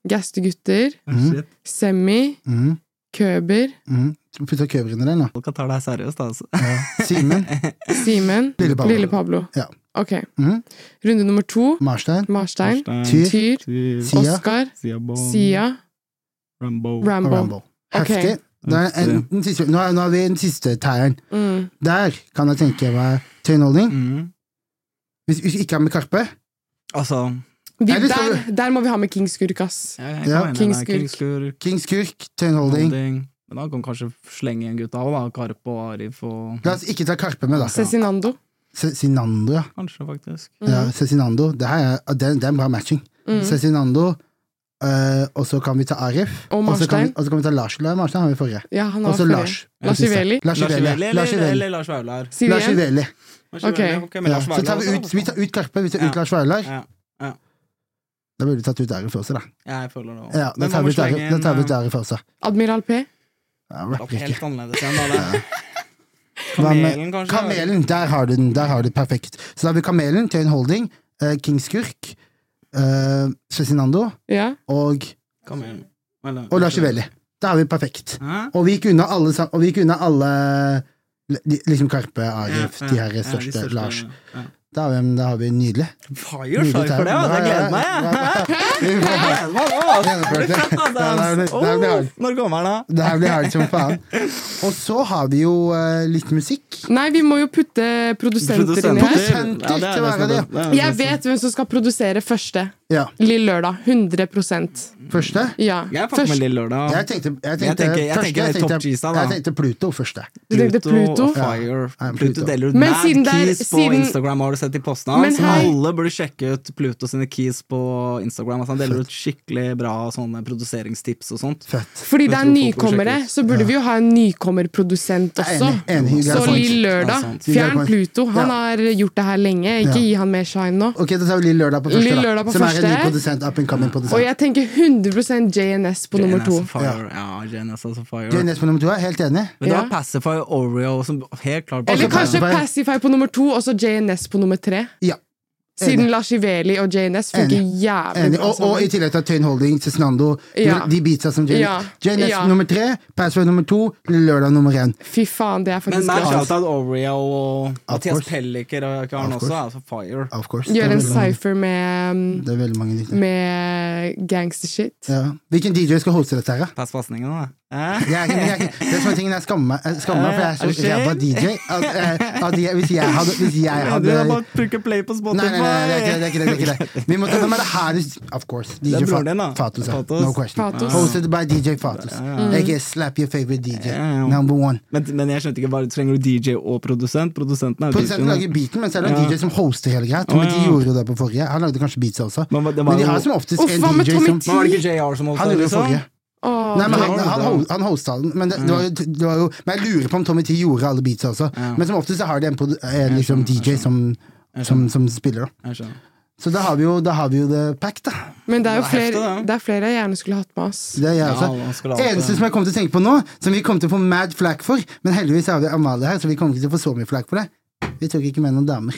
E: Gaster-gutter.
D: Shit,
E: Semi.
C: Mhm.
E: Køber.
C: mm, Putta køver under den, da.
D: Folk tar deg seriøst, altså.
C: Simen,
E: Simen.
C: Lille Pablo.
E: Lille Pablo.
C: Ja.
E: Ok.
C: Mhm.
E: Runde nummer to.
C: Marstein,
E: Marstein.
C: Tyr,
E: Tyr.
C: Sia.
E: Oskar. Sia.
D: Rambo.
C: og
E: Rambo.
C: Rambo.
E: Ok.
C: Heftig. Da er en, den siste, nå, er, nå har vi den siste tæren.
E: Mm.
C: Der kan jeg tenke meg tøyenholdning.
D: Mm.
C: Hvis hvis vi ikke er med Karpe
D: Altså
E: De,
C: Eller skal
E: der, der må vi ha med King Skurk, ass.
D: jeg,
C: Ja.
D: jeg
E: King
D: King
E: Skurk.
D: Skurk.
C: King Skurk, tøyenholdning.
D: Holding. Men da kan kanskje slenge igjen gutta òg, da. Karpe og Arif og
C: La oss ikke ta Karpe med, da.
E: Cezinando.
C: Se- Cezinando, ja.
D: Kanskje, faktisk.
C: ja
E: Mm.
C: Cezinando. Det, her er, det, det er en bra matching. Cezinando, eh, og så kan vi ta Arif. så
E: Og
C: kan, vi-
E: Marstein.
C: og så kan vi ta Lars. La- Marstein har vi forrige.
E: Ja, han har
C: Og så
E: flere.
C: Lars.
E: Lars Iveli.
C: Lars
D: Lars
C: Iveli.
D: Iveli
C: Lars
D: eller,
C: Iveli.
D: eller Lars Vaular.
E: Siv
C: Lars
E: igjen.
C: Iveli.
D: Lars
E: Ok.
D: Iveli, ok, men
C: Ja.
D: Lars
C: Så tar vi
D: Vaular
C: ut,
D: også,
C: vi tar ut Karpe, vi tar ut
D: Ja.
C: Lars Vaular.
D: Ja. Ja.
C: Da burde vi tatt ut Arif også, da.
D: Ja, jeg føler det også.
C: Ja, da
D: Men
C: tar
D: man
C: vi
D: må
C: ut Arif,
D: slenge
C: da tar vi ut
D: inn,
C: Arif også.
E: Admiral P.
C: Ja, han
D: eh,
C: rapper ikke.
D: Helt annerledes igjen, da. det.
C: Hva med-
D: Kamelen, kanskje?
C: Kamelen, der har du den. Der har du det perfekt. Så da har vi Kamelen, Tøyen Holding, eh, King Skurk, eh, Cezinando
E: Ja.
C: og,
D: Kamelen. Eller-
C: og Lars Iveli. Da har vi perfekt.
D: Hæ?
C: Og vi gikk unna alle, sam- og vi gikk unna alle li- liksom Karpe, Arif, de her største, Lars.
D: Ja.
C: Da har vi, da har vi nydelig.
D: Fire sorry for det, altså. Jeg gleder meg, jeg. Jeg gleder meg nå, altså.
C: Gjennomført det. Det er- det er- det er- det er-
D: Åh, Når kommer den, da?
C: Det her blir hardt som faen. Og så har vi jo eh, litt musikk.
E: Nei, vi må jo putte produsenter inn her.
C: Produsenter
D: Ja, det er
C: til å være
D: som
C: det.
D: er best. er
E: Jeg
D: det
E: vet hvem som skal produsere første.
C: Ja,
E: Lille Lørdag. 100
C: Første?
E: Ja.
D: som- Jeg fucker med Lille Lørdag.
C: Jeg tenkte, jeg tenkte,
D: Jeg tenker- jeg
C: første,
D: tenker Top Cheesa, da.
C: jeg tenkte Pluto første.
E: Du tenkte Pluto?
D: og Fire.
C: Ja, Pluto.
D: Pluto deler ut
E: Men
D: mad
E: siden det er-
D: keys på
E: siden-
D: Instagram, har du sett de postene hans?
E: Men hei-
D: Alle burde sjekke ut Pluto sine keys på og Instagram. Altså, han deler ut skikkelig bra sånne produseringstips og sånt.
C: Fett.
E: Fordi det
D: Jeg
E: er
D: tror folk vil
E: nykommere,
D: sjekke ut.
E: så burde vi jo ha en nykommerprodusent
C: Jeg er
E: også.
C: enig, enig, det er
E: Så
C: sant.
E: Lill
D: Det er
E: Lørdag.
D: sant.
C: Det
E: Fjern
C: er
E: Pluto. Han
C: Ja.
E: har gjort det her lenge. Ikke
C: Ja.
E: gi han mer shine nå.
C: Ok, da tar vi Lill Lørdag på første,
E: Lill
C: da.
E: Lørdag på
C: som er en ny
E: første.
C: produsent. Up and coming
E: Og
C: produsent.
E: jeg tenker 100 JNS på nummer
D: JNS
E: to.
D: og Fire. Ja, JNS og Fire.
C: Du er nest på nummer to, jeg er helt enig.
D: Men det
E: Ja.
D: var Pacify og Oreo som helt klart
E: Eller
C: Også
E: kanskje
C: Pacify.
E: Pacify på nummer to, og så JNS på nummer tre.
C: Ja,
E: Siden Lars Iveli og JNS funker
C: Enig.
E: jævlig
C: enig.
E: bra
C: Og, og i
E: sammen.
C: tillegg til Tøyen Holding, Cezinando,
E: Ja.
C: de beatsa som Jane
E: Ja.
C: Jane S
E: Ja.
C: nummer tre, Password nummer to, Lill Lørdag nummer én.
E: Fy faen, det er
D: Men
E: faktisk
D: mer
E: bra.
D: shoutout Oreo og Mathias
C: course.
D: Pelliker og karen
C: Of
D: også.
C: course.
D: Altså Fire.
C: Of course.
E: Gjør
C: det,
E: en
C: er veldig,
E: cypher med, um,
C: det er veldig mange dyktige.
E: med gangstershit.
C: Ja. Hvilken DJ skal hoste dette her, da?
D: Pass pasningen, da. Eh?
C: Jeg, er ikke- jeg, er ikke- det er sånne ting jeg skammer meg jeg skammer meg for jeg er så
D: Eh,
C: ræva
D: unnskyld?
C: DJ. At, eh, at jeg, hvis jeg hadde, hvis jeg
D: Ja,
C: hadde
D: du har bare trykket play på Spotify!
C: Nei, nei, nei, det er ikke det. det, er ikke det, det, er ikke det. Vi må ta med det her du- Of course. DJ
D: Det er broren din, da.
C: Fatos. ja.
D: Fatos.
C: No question.
E: Fatos.
C: Hosted by DJ Fatos. Ikke slap your favorite DJ.
D: ja.
C: Number one.
D: Men, men jeg skjønte ikke hva trenger du DJ og produsent? Produsenten er jo
C: Produsenten lager
D: DJ-en.
C: beaten, men så er det en
D: Ja.
C: DJ som hoster hele greia. Tommy
D: Å,
C: T
D: ja.
C: gjorde det på forrige. Han lagde kanskje beats også. Men,
D: Men hva- det var
C: de
D: jo-
C: har som oftest
E: Uff,
C: en
E: hva med
C: DJ
E: Tommy
C: som
E: T?
D: Men var det sånn? ikke JR som holdt
C: Han gjorde det forrige.
E: Åh,
C: Nei, men han,
D: Ja,
C: han,
D: det var-
C: ho- han hosta den, men det, det var, jo- det var jo Men jeg lurer på om Tommy T gjorde alle beatsa også. Men som oftest så har de en, produ- eh, liksom, DJ som, som, som spiller, da.
D: Jeg skjønner.
C: Så da har vi jo, da har vi jo det packed, da.
E: men det er jo
D: Det var heftig,
E: flere,
D: det.
E: det er flere jeg gjerne skulle hatt med oss.
C: Det er jeg
D: Ja, man
C: også.
D: skal alltid-
C: Eneste som jeg kom til å tenke på nå, som vi kom til å få mad flack for, men heldigvis har vi Amalie her, så vi kommer ikke til å få så mye flack for det. Vi tok ikke med noen damer.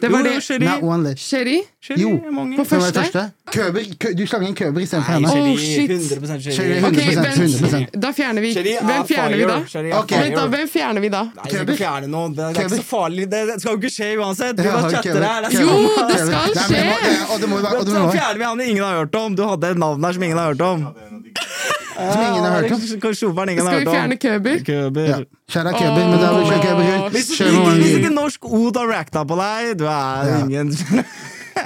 E: Det var det.
D: Sherry.
C: Not one left.
E: Sherry?
D: Sherry
C: Jo.
D: er mange.
E: På
C: Hvem var det
E: Første?
C: første? Køber, kø, du slang inn Køber istedenfor
D: Nei,
C: henne.
D: Sherry,
E: Oh, shit.
D: 100
C: Sherry,
D: Sherry.
E: Ok,
C: 100%,
E: vent.
C: 100%.
E: Da fjerner vi
D: Sherry er
E: Hvem fjerner vi da?
D: ah, fire. Sherry er
C: Ok.
D: fire.
E: Vent da, hvem fjerner vi da?
D: Nei, vi skal ikke fjerne noe. Det er ikke
C: Køber.
D: så farlig. Det det skal jo ikke skje uansett. Vi
C: Ja,
D: bare
C: Køber,
D: chatter her. Det er
C: Køber.
E: Jo,
D: samme.
E: det
C: Køber.
E: skal
C: Nei, men det må-
E: skje.
C: eh, Og det må jo være og det må
D: Så
C: jo være-
D: fjerner vi han ingen har hørt om. Du hadde et navn der som ingen har hørt om.
C: som ingen har hørt om.
D: Sjoferen ingen har
E: Skal vi
D: hørt om.
E: fjerne Køber?
D: Køber.
C: Ja. Kjære Køber, men da vil ikke Køber rundt.
D: Hvis,
C: Kjør med
D: ikke, hvis ikke
C: mange-
D: norsk ord har racta på deg, du er
C: Ja.
D: ingen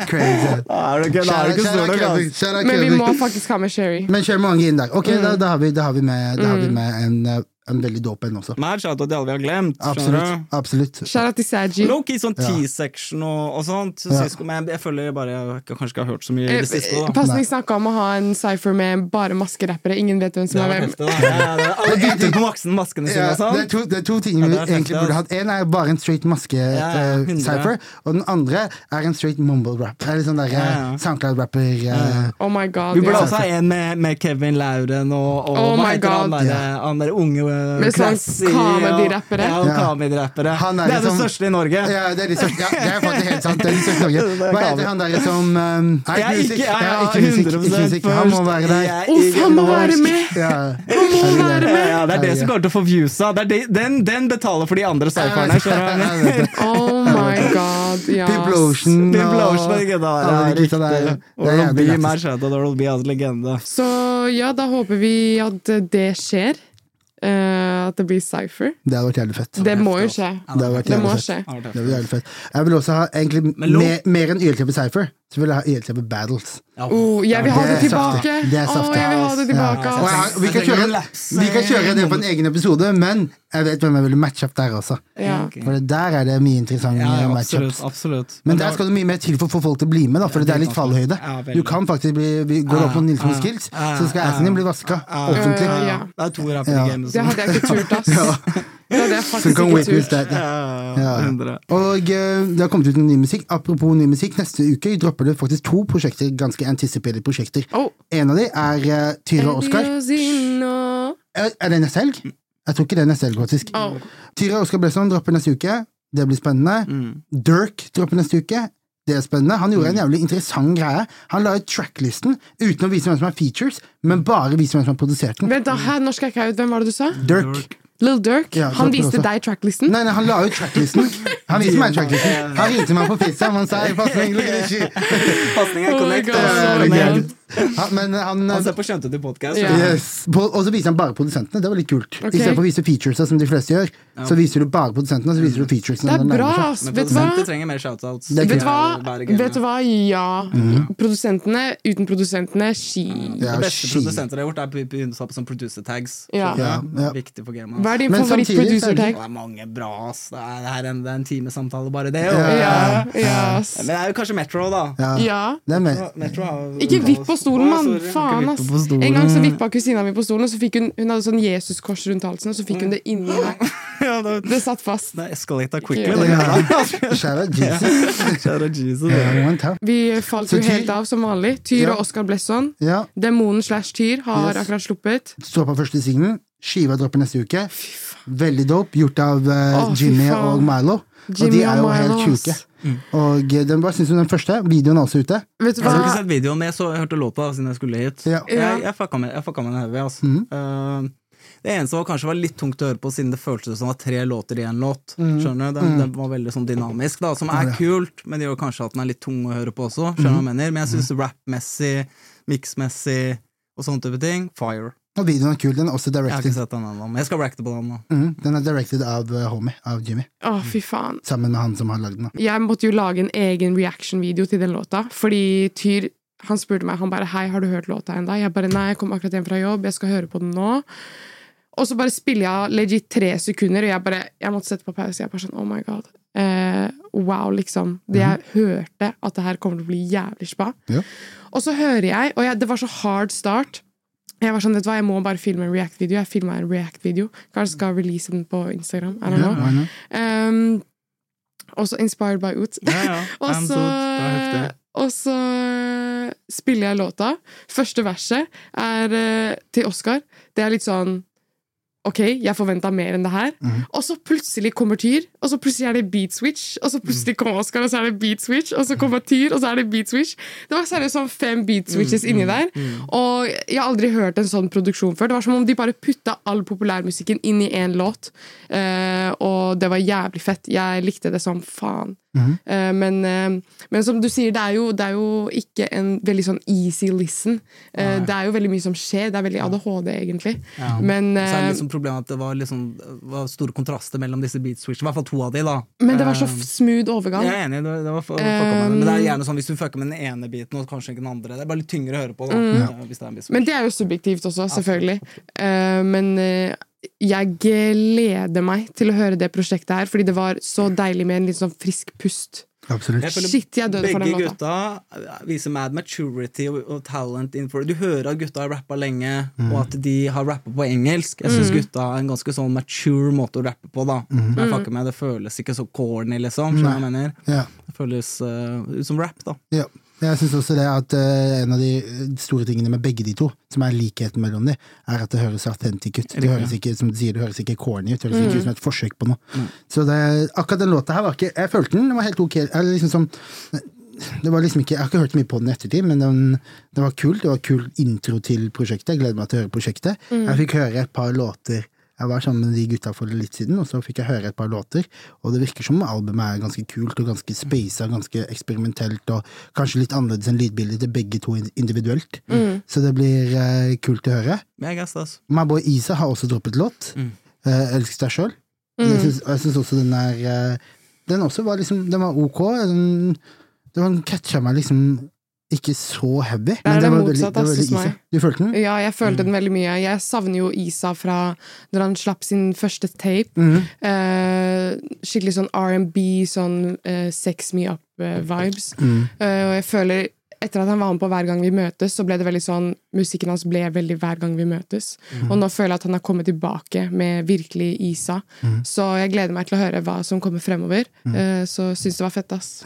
C: Crazy.
D: Da er du ikke, da er
C: Kjære
D: du ikke
C: kjære
D: stor nok,
C: Køber.
D: ass.
C: kjære
E: Men vi
C: Køber.
E: må faktisk ha med Sherry.
C: Men kjør mange inn der. Ok,
D: Mm.
C: da, da, har vi, da har vi med, da har vi med en, eh, en veldig dope en også.
D: Mer shoutout til alle vi har glemt. skjønner
C: Absolutt.
D: du?
C: Absolutt.
E: Shout out til Saji.
D: Low-key sånn T-section og, og sånt.
C: Ja.
D: Cisco, men jeg, jeg føler bare jeg har ikke- kanskje ikke har hørt så mye i
E: Eh,
D: det siste. da.
E: Pasning snakka om å ha en cypher med bare maskerappere. Ingen vet hvem som
D: Det
E: er
D: var
E: hvem.
D: heftig, da. Ja, ja, det- Alle biter på maksen, maskene sine
C: Ja,
D: og
C: det, er
D: sånn.
C: to, det er to ting vi
D: det er fett,
C: egentlig
D: ass.
C: burde hatt. En er bare en straight
D: ja, hundre.
C: maske-cypher, og den andre er en straight mumble-rap. Eller sånn der
D: Ja, ja.
C: SoundCloud-rapper eh,
E: Oh my god.
D: Vi burde
E: ja.
D: også ha
C: altså.
D: en med, med Kevin Lauren og, og
E: Oh
D: hva
E: my
D: heter han
E: God.
D: der, han der unge eh,
E: Med sånn
D: Classy,
E: comedy-rappere.
D: Ja, og
C: Ja.
D: comedy-rappere.
C: Han
D: Det er det
C: liksom-
D: største i Norge.
C: Ja, det er, de største, ja, det er faktisk helt sant. Det er de største i Norge. Hva heter han der som um, Nei,
D: Jeg er ikke,
C: musikk.
D: jeg
C: Ja,
D: er
C: ikke musikk, ikke
D: 100%
C: musikk. Han må
D: først.
C: være der.
D: Jeg er
E: Uff, han må
D: ikke
E: være
D: norsk.
E: med!
C: Ja.
E: Han må være
D: Ja,
E: med!
D: ja, det er det som kommer til å få viewsa. Det er de, den, den betaler for de andre cypherne. skjønner du?
C: Jeg vet det.
E: Oh my god, ja.
C: People Ocean og
D: Pimple Ocean og de gutta der,
C: alle de gutta der.
D: riktig.
C: Det er
D: Oral B,
C: jævlig lættis.
D: mer kjent, og Oral B er en legende.
E: Så ja, da håper vi at det skjer. Eh, at det blir cypher.
C: Det hadde vært jævlig fett.
E: Det må jo skje.
C: Det hadde vært
E: altså.
C: jævlig fett. Det
E: Det må skje.
C: hadde vært jævlig fett. Jeg vil også ha egentlig
D: Men lo-
C: mer, mer enn YLTP Cypher, så vil jeg ha YLTP Battles.
E: Oh, jeg vil ha
C: Det er
E: det tilbake!
C: saftig. Det er
E: Å,
C: saftig.
E: jeg vil ha det tilbake, altså.
C: Og jeg,
E: ass.
C: har- vi, kan kjøre, vi kan kjøre det på en egen episode, men jeg vet hvem jeg ville matche opp der også.
E: Ja.
C: For der er det mye interessante
D: Ja, ja, absolutt.
C: matchups.
D: absolutt.
C: Men der skal det mye mer til for å få folk til å bli med, da, for det er litt fallhøyde.
D: Ja, veldig.
C: Du kan faktisk bli vi Går opp på Nilsen
D: ja,
C: Skills,
D: ja,
C: så skal assen din bli vaska offentlig.
E: Eh, Ja, ja.
D: Det er to rappere i gamet.
E: Det
D: som-
E: hadde jeg ikke turt, ass. Det hadde jeg
C: Så
E: faktisk
C: kan
E: ikke
C: witness
E: turt.
C: that.
D: Ja,
C: Ja.
D: ja,
C: Ja.
D: hundre.
C: Og eh, det har kommet ut noe ny musikk. Apropos ny musikk, neste uke dropper det faktisk to prosjekter, ganske anticipated prosjekter.
E: Oh.
C: En av de er eh, Tyra og Oskar.
E: Adiosino.
C: Er er det neste helg? Jeg tror ikke det er neste helg, faktisk.
E: Au.
C: Tyra og Oskar Blesson dropper neste uke. Det blir spennende. Dirk dropper neste uke. Det er spennende. Han gjorde en jævlig interessant greie. Han la ut tracklisten uten å vise hvem som er features, men bare vise hvem som har produsert den.
E: Vent, da, her, nå skal jeg ikke ut. Hvem var det du sa?
C: Dirk.
E: Lil Durk?
C: Ja,
E: Han
C: klart det
E: viste
C: også.
E: deg tracklisten?
C: Nei, nei, han la ut tracklisten. Han viste meg tracklisten. Han ringte meg på FaceTime, han sa «Hey, pass meg, look at this shit».
D: Pasning er
E: Oh my
D: connect.
E: God.
D: og så er det
C: Det er
D: med.
C: gøy. Han, men han,
D: Han ser på Skjønte du podkast?
E: Ja.
C: Yes. På, og så viser han bare produsentene. Det var litt kult. I stedet for å vise featuresene, som de fleste gjør, så viser du bare produsentene. Så viser du featuresene
E: Det er
C: når den
E: bra,
C: nærmer seg.
E: ass.
D: Men
E: Vet du hva?
D: produsenter trenger mer shoutouts.
C: er
E: Vet du
C: kult.
E: hva?
D: Bærer gamet.
E: Vet du hva? Ja. Produsentene uten produsentene, ski.
C: Mhm. Ja,
D: Det beste
C: shit.
D: produsenter har gjort, er å begynne å ta på sånne producer tags.
E: Ja.
D: Så det
C: Ja,
D: er
C: ja.
D: Viktig for gamet.
E: Hva
D: ass.
E: er din
C: Men samtidig så er det-
D: Og
E: favorittproducer-tag?
D: Det er mange bra, ass. Det er, det er en, det er en timesamtale, bare det.
C: Ja.
D: og-
E: Ja, ja, ass.
D: Men det er jo kanskje Metro, da.
E: ja.
C: Det er med.
D: Metro har-
E: Ikke vipp på stolen,
D: Å,
E: mann!
D: sorry.
E: Faen, ass.
C: på stolen.
E: En gang så vippa kusina mi på stolen, og så fikk hun Hun hadde sånn Jesuskors rundt halsen, og så
C: Mm.
E: fikk hun det inni meg.
D: Ja, det
E: Det satt fast.
D: det escalata quickly.
E: Ikke-
D: det greia.
C: Shout out Jesus.
D: Shout out Jesus.
C: Everyone tap.
E: Vi falt
C: Så
E: jo
C: Tyr-
E: helt av, som vanlig. Tyr
C: Ja.
E: og Oskar Blesson.
C: Ja.
E: Demonen slash Tyr har
C: Yes.
E: akkurat sluppet.
C: Står på første singelen. Skiva dropper neste uke. Veldig dope. Gjort av eh,
E: Å, fy
C: Jimmy
E: faen.
C: og Milo. og de
E: Jimmy
C: er jo
E: og Milo,
C: helt sjuke.
E: ass. Mm.
C: Og eh, den, hva syns du om den første? Videoen er også ute.
E: Vet du
D: Jeg har ikke
E: hva?
D: sett videoen, men jeg, så, jeg hørte låta siden jeg skulle hit.
C: Ja.
E: Ja. Mhm.
D: Jeg, jeg fucka med jeg fucka med den heavy. Altså. Eh, det eneste var kanskje var litt tungt å høre på, siden det føltes som det var tre låter i en låt.
E: Mhm.
D: Skjønner du? Den, den var veldig sånn dynamisk, da, som er kult, men det gjør kanskje at den er litt tung å høre på også. Skjønner
E: Mhm.
D: du hva jeg mener? Men jeg syns rap-messig, mix-messig og sånne type ting fire.
C: Og videoen er kul. Den er også
D: Jeg har ikke
C: directed.
D: sett den ennå, men jeg skal racke på den nå.
E: Mhm.
C: Mm, den er directed av eh, Homie, av Jimmy.
E: Å, fy faen.
C: Sammen med han som har lagd den. da.
E: Jeg måtte jo lage en egen reaction-video til den låta, fordi Tyr han spurte meg han bare, hei, har du hørt låta enda? Jeg bare nei, jeg kom akkurat hjem fra jobb, jeg skal høre på den nå. Og så bare spiller jeg av legit tre sekunder, og jeg bare, jeg måtte sette på pause. Jeg bare sånn, oh my god. Eh, wow, liksom. Det
C: Mhm.
E: jeg hørte, at det her kommer til å bli jævlig spa.
C: Ja.
E: Og så hører jeg, og jeg, det var så hard start. Jeg var sånn, vet du hva, jeg må bare filme en React-video. Jeg filma en React-video. Kanskje skal release den på Instagram. I don't know.
C: Why not?
E: Um, også Inspired by Oot.
D: Ja, ja.
E: Og
D: I'm
E: så,
D: so- det er heftig.
E: og så spiller jeg låta. Første verset er eh, til Oscar. Det er litt sånn Ok, jeg forventa mer enn det her.
D: Mhm.
E: Og så plutselig kommer Tyr, og så plutselig er det beat switch. Og så plutselig
D: Mhm.
E: kommer Oscar, og så er det beat switch, og så kommer Tyr, og så er det beat switch. Det var seriøst sånn fem beat switches
D: Mm,
E: inni der. Og jeg har aldri hørt en sånn produksjon før. Det var som om de bare putta all populærmusikken inn i én låt. Eh, og det var jævlig fett. Jeg likte det som faen.
D: Mhm.
E: Eh, men, eh, men som du sier, det er jo, det er jo ikke en veldig sånn easy listen. Eh, det er jo veldig mye som skjer. Det er veldig ADHD, egentlig.
D: Ja.
E: Men,
D: Så er det
E: eh,
D: liksom problemet at det var, liksom, det var store kontraster mellom disse beat switchene. I hvert fall to av de, da.
E: men det var så
D: Eh,
E: f- smooth overgang.
D: Jeg er enig, det, det var fu- fucka med det. Men det
E: Um,
D: er gjerne sånn hvis du fucker med den ene biten og kanskje ikke den andre. Det er bare litt tyngre å høre på. Da, eh, hvis det er en beat switch.
E: Mm. Men det er jo subjektivt også, selvfølgelig. Eh, men eh, jeg gleder meg til å høre det prosjektet her, fordi det var så deilig med en litt sånn frisk pust.
C: Absolutt.
D: Jeg føler
E: Shit, jeg døde for den
D: Begge
E: låta.
D: gutta eh, viser mad maturity og, og talent innenfor det. Du hører at gutta har rappa lenge, og at de har rappa på engelsk. Jeg
E: Mm.
D: syns gutta har en ganske sånn mature måte å rappe på, da. Men
E: Mm.
D: jeg fucker med, det føles ikke så corny, liksom. Skjønner du hva jeg mener?
C: Ja.
D: Det føles eh, ut som rap, da.
C: Ja. Jeg syns også det at eh, en av de store tingene med begge de to, som er likheten mellom de, er at det høres autentisk ut. Det høres ikke som du sier, det høres ikke corny ut, det høres ikke ut som et forsøk på noe. Så det, akkurat den låta her var ikke Jeg følte den, den var helt ok. Eller liksom som, det var liksom ikke, jeg har ikke hørt så mye på den i ettertid, men den, det var kult. Det var kul intro til prosjektet. Jeg gleder meg til å høre prosjektet. Jeg fikk høre et par låter. Jeg var sammen med de gutta for litt siden, og så fikk jeg høre et par låter. Og det virker som albumet er ganske kult og ganske spasa, ganske eksperimentelt, og kanskje litt annerledes enn lydbildet til begge to individuelt. Så det blir eh, kult å høre.
D: Men jeg gasser, altså.
C: My boy Isa har også droppet låt. Eh, Elsk deg sjøl.
E: Mm.
C: Og jeg syns også den er eh, Den også var liksom Den var ok. Den, den catcha meg liksom ikke så heavy.
E: er det
C: den var
E: motsatt,
C: den var
E: ass, hos
C: Isa.
E: meg.
C: Du følte den?
E: Ja, jeg følte den veldig mye. Jeg savner jo Isa fra når han slapp sin første tape. Eh, skikkelig sånn R&B, sånn eh, sex me up-vibes. Eh, og jeg føler etter at han var med på Hver gang vi møtes, så ble det veldig sånn Musikken hans ble veldig Hver gang vi møtes. Og nå føler jeg at han har kommet tilbake med virkelig Isa. Så jeg gleder meg til å høre hva som kommer fremover. Eh, så syns det var fett, ass.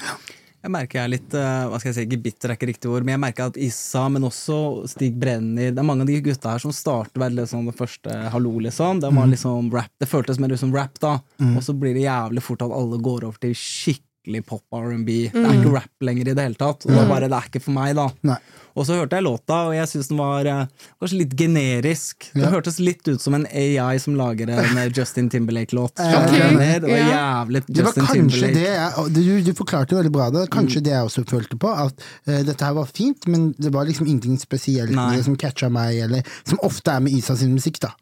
D: Jeg merker jeg er litt eh, hva skal jeg si, ikke bitter er ikke riktig ord, men jeg merker at Issa, men også Stig Brenni Det er mange av de gutta her som starter vel sånn det første hallo, liksom.
C: Mm.
D: Det, var liksom rap, det føltes mer ut som rap, da. Og så blir det jævlig fort at alle går over til skikkelig skikkelig pop R&B. Det er ikke rap lenger i det hele tatt. Og det, er bare, det er ikke for meg, da.
C: Mm. Nei.
D: Og så hørte jeg låta, og jeg syns den var eh, kanskje litt generisk. Det
C: Ja.
D: hørtes litt ut som en AI som lager en eh, Justin Timberlake-låt.
C: Ok.
D: Skjønner? Det var
E: Ja.
D: jævlig
C: Det var
D: Justin
C: kanskje
D: Timberlake.
C: det jeg, og du, du forklarte det veldig bra. Det.
E: Mm.
C: Kanskje det jeg også følte på. At eh, dette her var fint, men det var liksom ingenting spesielt
D: Nei.
C: med det som catcha meg, eller som ofte er med Isa sin musikk. da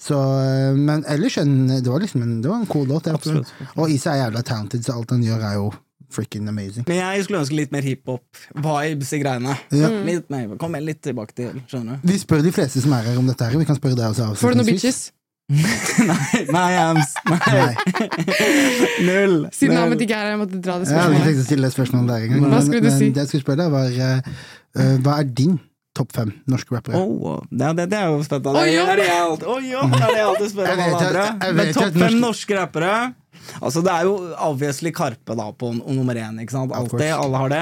C: så, eh, Men ellers en, det var liksom en, det var en cool låt. jeg-
D: Absolutt.
C: Og Isa er jævla talented, så alt han gjør, er jo freaking amazing.
D: Men jeg skulle ønske litt mer hiphop-vibes i greiene. Mm. Litt mer, Kom igjen, litt tilbake til, skjønner du.
C: Vi spør de fleste som er her om dette her. Vi kan spørre deg også.
E: Får du noen
C: avslutningsvis.
E: bitches?
D: Nei, Ams. Nei.
C: Nei.
D: Null.
E: Siden
D: Null.
E: Ahmed ikke er her, jeg måtte dra det
C: Jeg hadde ikke
E: spørsmålet.
C: tenkt å stille det spørsmålet der engang.
E: Hva skulle du
C: men,
E: si?
C: men det jeg skulle spørre deg, var eh, eh, hva er din topp fem norske rappere?
D: Oh, det, det, det er jo spennende.
E: Å,
D: Det
E: ja.
D: er det jeg alltid, å, ja, det er det jeg alltid spør
C: Jeg
D: om
C: vet
D: alle
C: jo at-
D: andre.
C: jeg
D: Men
C: vet jo at
D: topp fem
C: norsk-
D: norske rappere Altså Det er jo obviously Karpe da på n- nummer én. Ikke sant? Alltid,
C: course.
D: alle har det.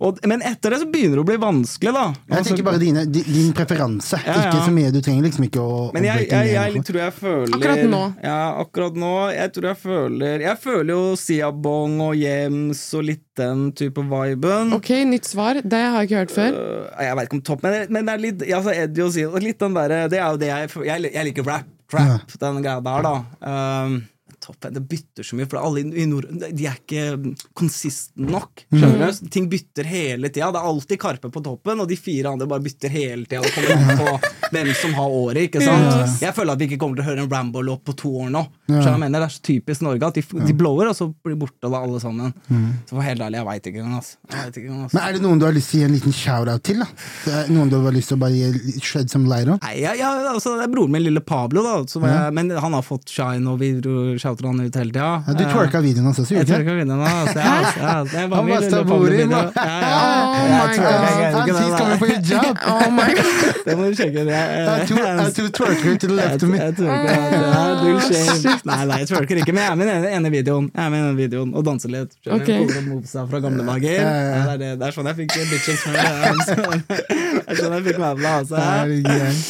D: Og, men etter det så begynner det å bli vanskelig, da.
C: Jeg tenker bare dine, di- din preferanse.
D: Ja, ja.
C: Ikke så mye. Du trenger liksom ikke å, å
D: Men jeg,
C: breake
D: jeg,
C: ned
D: jeg,
C: noe.
D: tror jeg føler
E: Akkurat nå.
D: Ja, akkurat nå. Jeg tror jeg føler Jeg føler jo Siabong og Jems og litt den type viben.
E: Ok, nytt svar. Det har jeg ikke hørt før.
D: Øh, jeg veit ikke om topp, men, men det er litt ja, altså Eddie og Zio, litt den derre Det er jo det jeg føler- Jeg, jeg liker rap, trap, den greia der, da. Ehm, topp, det bytter så mye, for alle i- i nord De er ikke konsistent nok. Skjønner du? Ting bytter hele tida. Det er alltid Karpe på toppen, og de fire andre bare bytter hele tida. Det kommer an på hvem som har året, ikke sant? Jeg føler at vi ikke kommer til å høre en Rambo-låt på to år nå. Så jeg mener Det er så typisk Norge at de, f- de blower, og så blir borte da alle sammen. Så for helt ærlig, jeg veit ikke engang, altså. Jeg vet ikke engang, altså.
C: Men er det noen du har lyst til å gi en liten shout-out til? da? Det er Noen du har lyst til å bare gi shed some light on?
D: Nei, ja, ja, altså, det er broren min, lille Pablo, da, som jeg, men han har fått shine, og vi dro- shouter han ut hele tida.
C: Ja, du twerka videoen hans også,
D: Jeg
C: gjorde du ikke?
D: twerka videoen hans. ja, altså, ja, det er bare
C: Han
D: min
C: bare
D: lille
C: står
D: Pablo
C: bordet,
D: video.
C: man.
D: Ja, ja.
E: Oh
D: Jeg
E: my
D: twerker
E: god.
D: ikke, jeg vet ikke
C: Antis
D: det
C: kommer
D: der.
C: på hijab!
E: Oh my god.
D: Det må du sjekke. Det er,
C: Jeg tror- jeg tror twerker til
D: jeg,
C: left of me.
D: jeg twerker, ja, null shame. Nei, nei, jeg twerker ikke, men jeg er med i den ene videoen. Jeg er med i den videoen Og danser litt. Skjønner
E: Ok.
D: du? Kommer og movesa fra gamle dager.
C: Ja, ja, ja.
D: Ja, det, er det, det er sånn jeg fikk bitches med. Det er sånn- Det er sånn jeg fikk med meg, altså.
C: Herregud.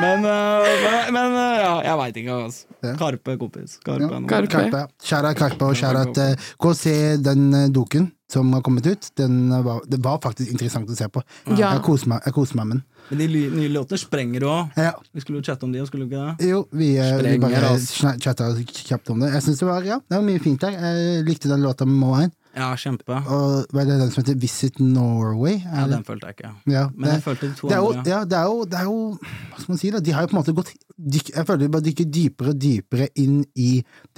D: Men, øh, men, men øh, ja, jeg veit ikke. Altså.
C: Ja.
D: Karpe, kompis. Karpe, er noe.
E: Karpe.
C: Karpe. Kjære Karpe og kjære at eh, Gå og se den eh, doken som har kommet ut. Den eh, var, det var faktisk interessant å se på.
E: Ja.
C: Jeg koser meg jeg koser meg med den.
D: Men de ly- nye låtene sprenger òg.
C: Ja.
D: Vi skulle jo chatte om de, skulle vi ikke det?
C: Jo, vi, eh, vi
D: Sprenger,
C: bare
D: ass.
C: sna- chatta kjapt om det. Jeg synes det var, ja, det var mye fint der. Jeg likte den låta med Moain.
D: Ja, kjempe.
C: Og hva er det den som heter Visit Norway?
D: Ja,
C: Er det?
D: den følte jeg ikke.
C: Ja,
D: Men jeg følte de to
C: det er jo,
D: andre.
C: ja, det er jo, det er jo Hva skal man si? da? De har jo på en måte gått dyk, Jeg føler de bare dykker dypere og dypere inn i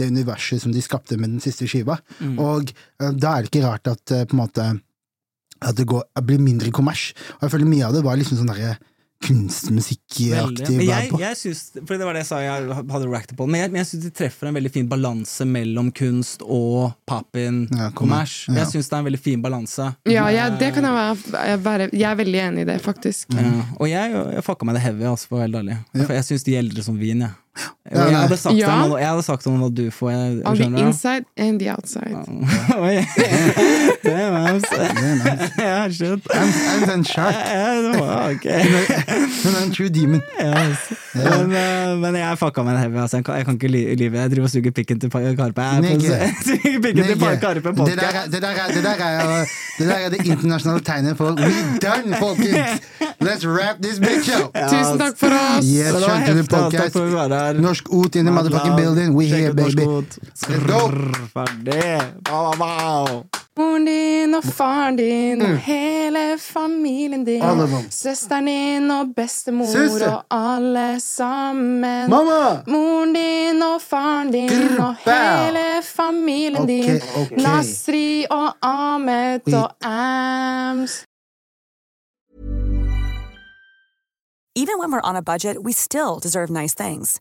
C: det universet som de skapte med den siste skiva.
D: Mm.
C: Og eh, da er det ikke rart at eh, på en måte at det går, blir mindre kommers. Og jeg føler mye av det var liksom sånn derre
D: Veldig.
C: kunstmusikkaktig
D: Men jeg,
C: vibe på.
D: jeg syns, for det var det jeg sa jeg hadde racked på, men jeg, men jeg syns de treffer en veldig fin balanse mellom kunst og papin
C: Ja, kom
D: kommers.
C: igjen. Ja.
D: Jeg syns det er en veldig fin balanse.
E: Ja, jeg, det kan jeg være, jeg være Jeg er veldig enig i det, faktisk.
D: Ja. Eh, Og jeg, jeg fucka med det heavy, altså, for å være helt ærlig. For jeg syns de gjelder som vin, jeg. Og
C: Ja,
D: jeg,
C: nei.
D: hadde sagt
E: Ja.
D: til han, jeg hadde sagt til han hva du får. Jeg,
E: On the
D: skjønner du?
E: inside and the outside.
D: Oi. Damn, Ams. Ja, shit.
C: I'm, I'm then sharp.
D: Ja, det var ok. Men,
C: Men I'm true demon.
D: eh, men jeg fucka med en heavy. Altså. Jeg, kan, jeg kan ikke ly- lyve. Jeg driver og suger pikken til Pa- Karpe. Jeg er på-
C: Nigger.
D: Suger pikken til Pa- Karpe
C: det, der
D: podcast.
C: er, det, der er, det, der er, jo- det der er det internasjonale tegnet for We done, folkens! Let's wrap this bitch up!
E: Tusen takk for oss!
C: Yes,
D: Det var
C: skjønte du
D: heftig, altså. Takk
C: podcast?
D: for å være her.
C: Norsk ot in the motherfucking building. We
D: Sjekk
C: here,
D: ut norsk
C: baby.
D: hot. Skrrr, Ferdig. Wow, wow, wow.
E: Moren din og faren din og hele familien din.
C: Alle mann.
E: Søsteren din og bestemor
C: Søster.
E: og alle sammen.
C: Mamma!
E: Moren din og faren din
C: Grr,
E: og
C: bæ.
E: hele familien din.
C: Ok, ok.
E: Nasri og Ahmed
C: Oi.
E: og Ams.
F: Even when we're on a budget, we still deserve nice things.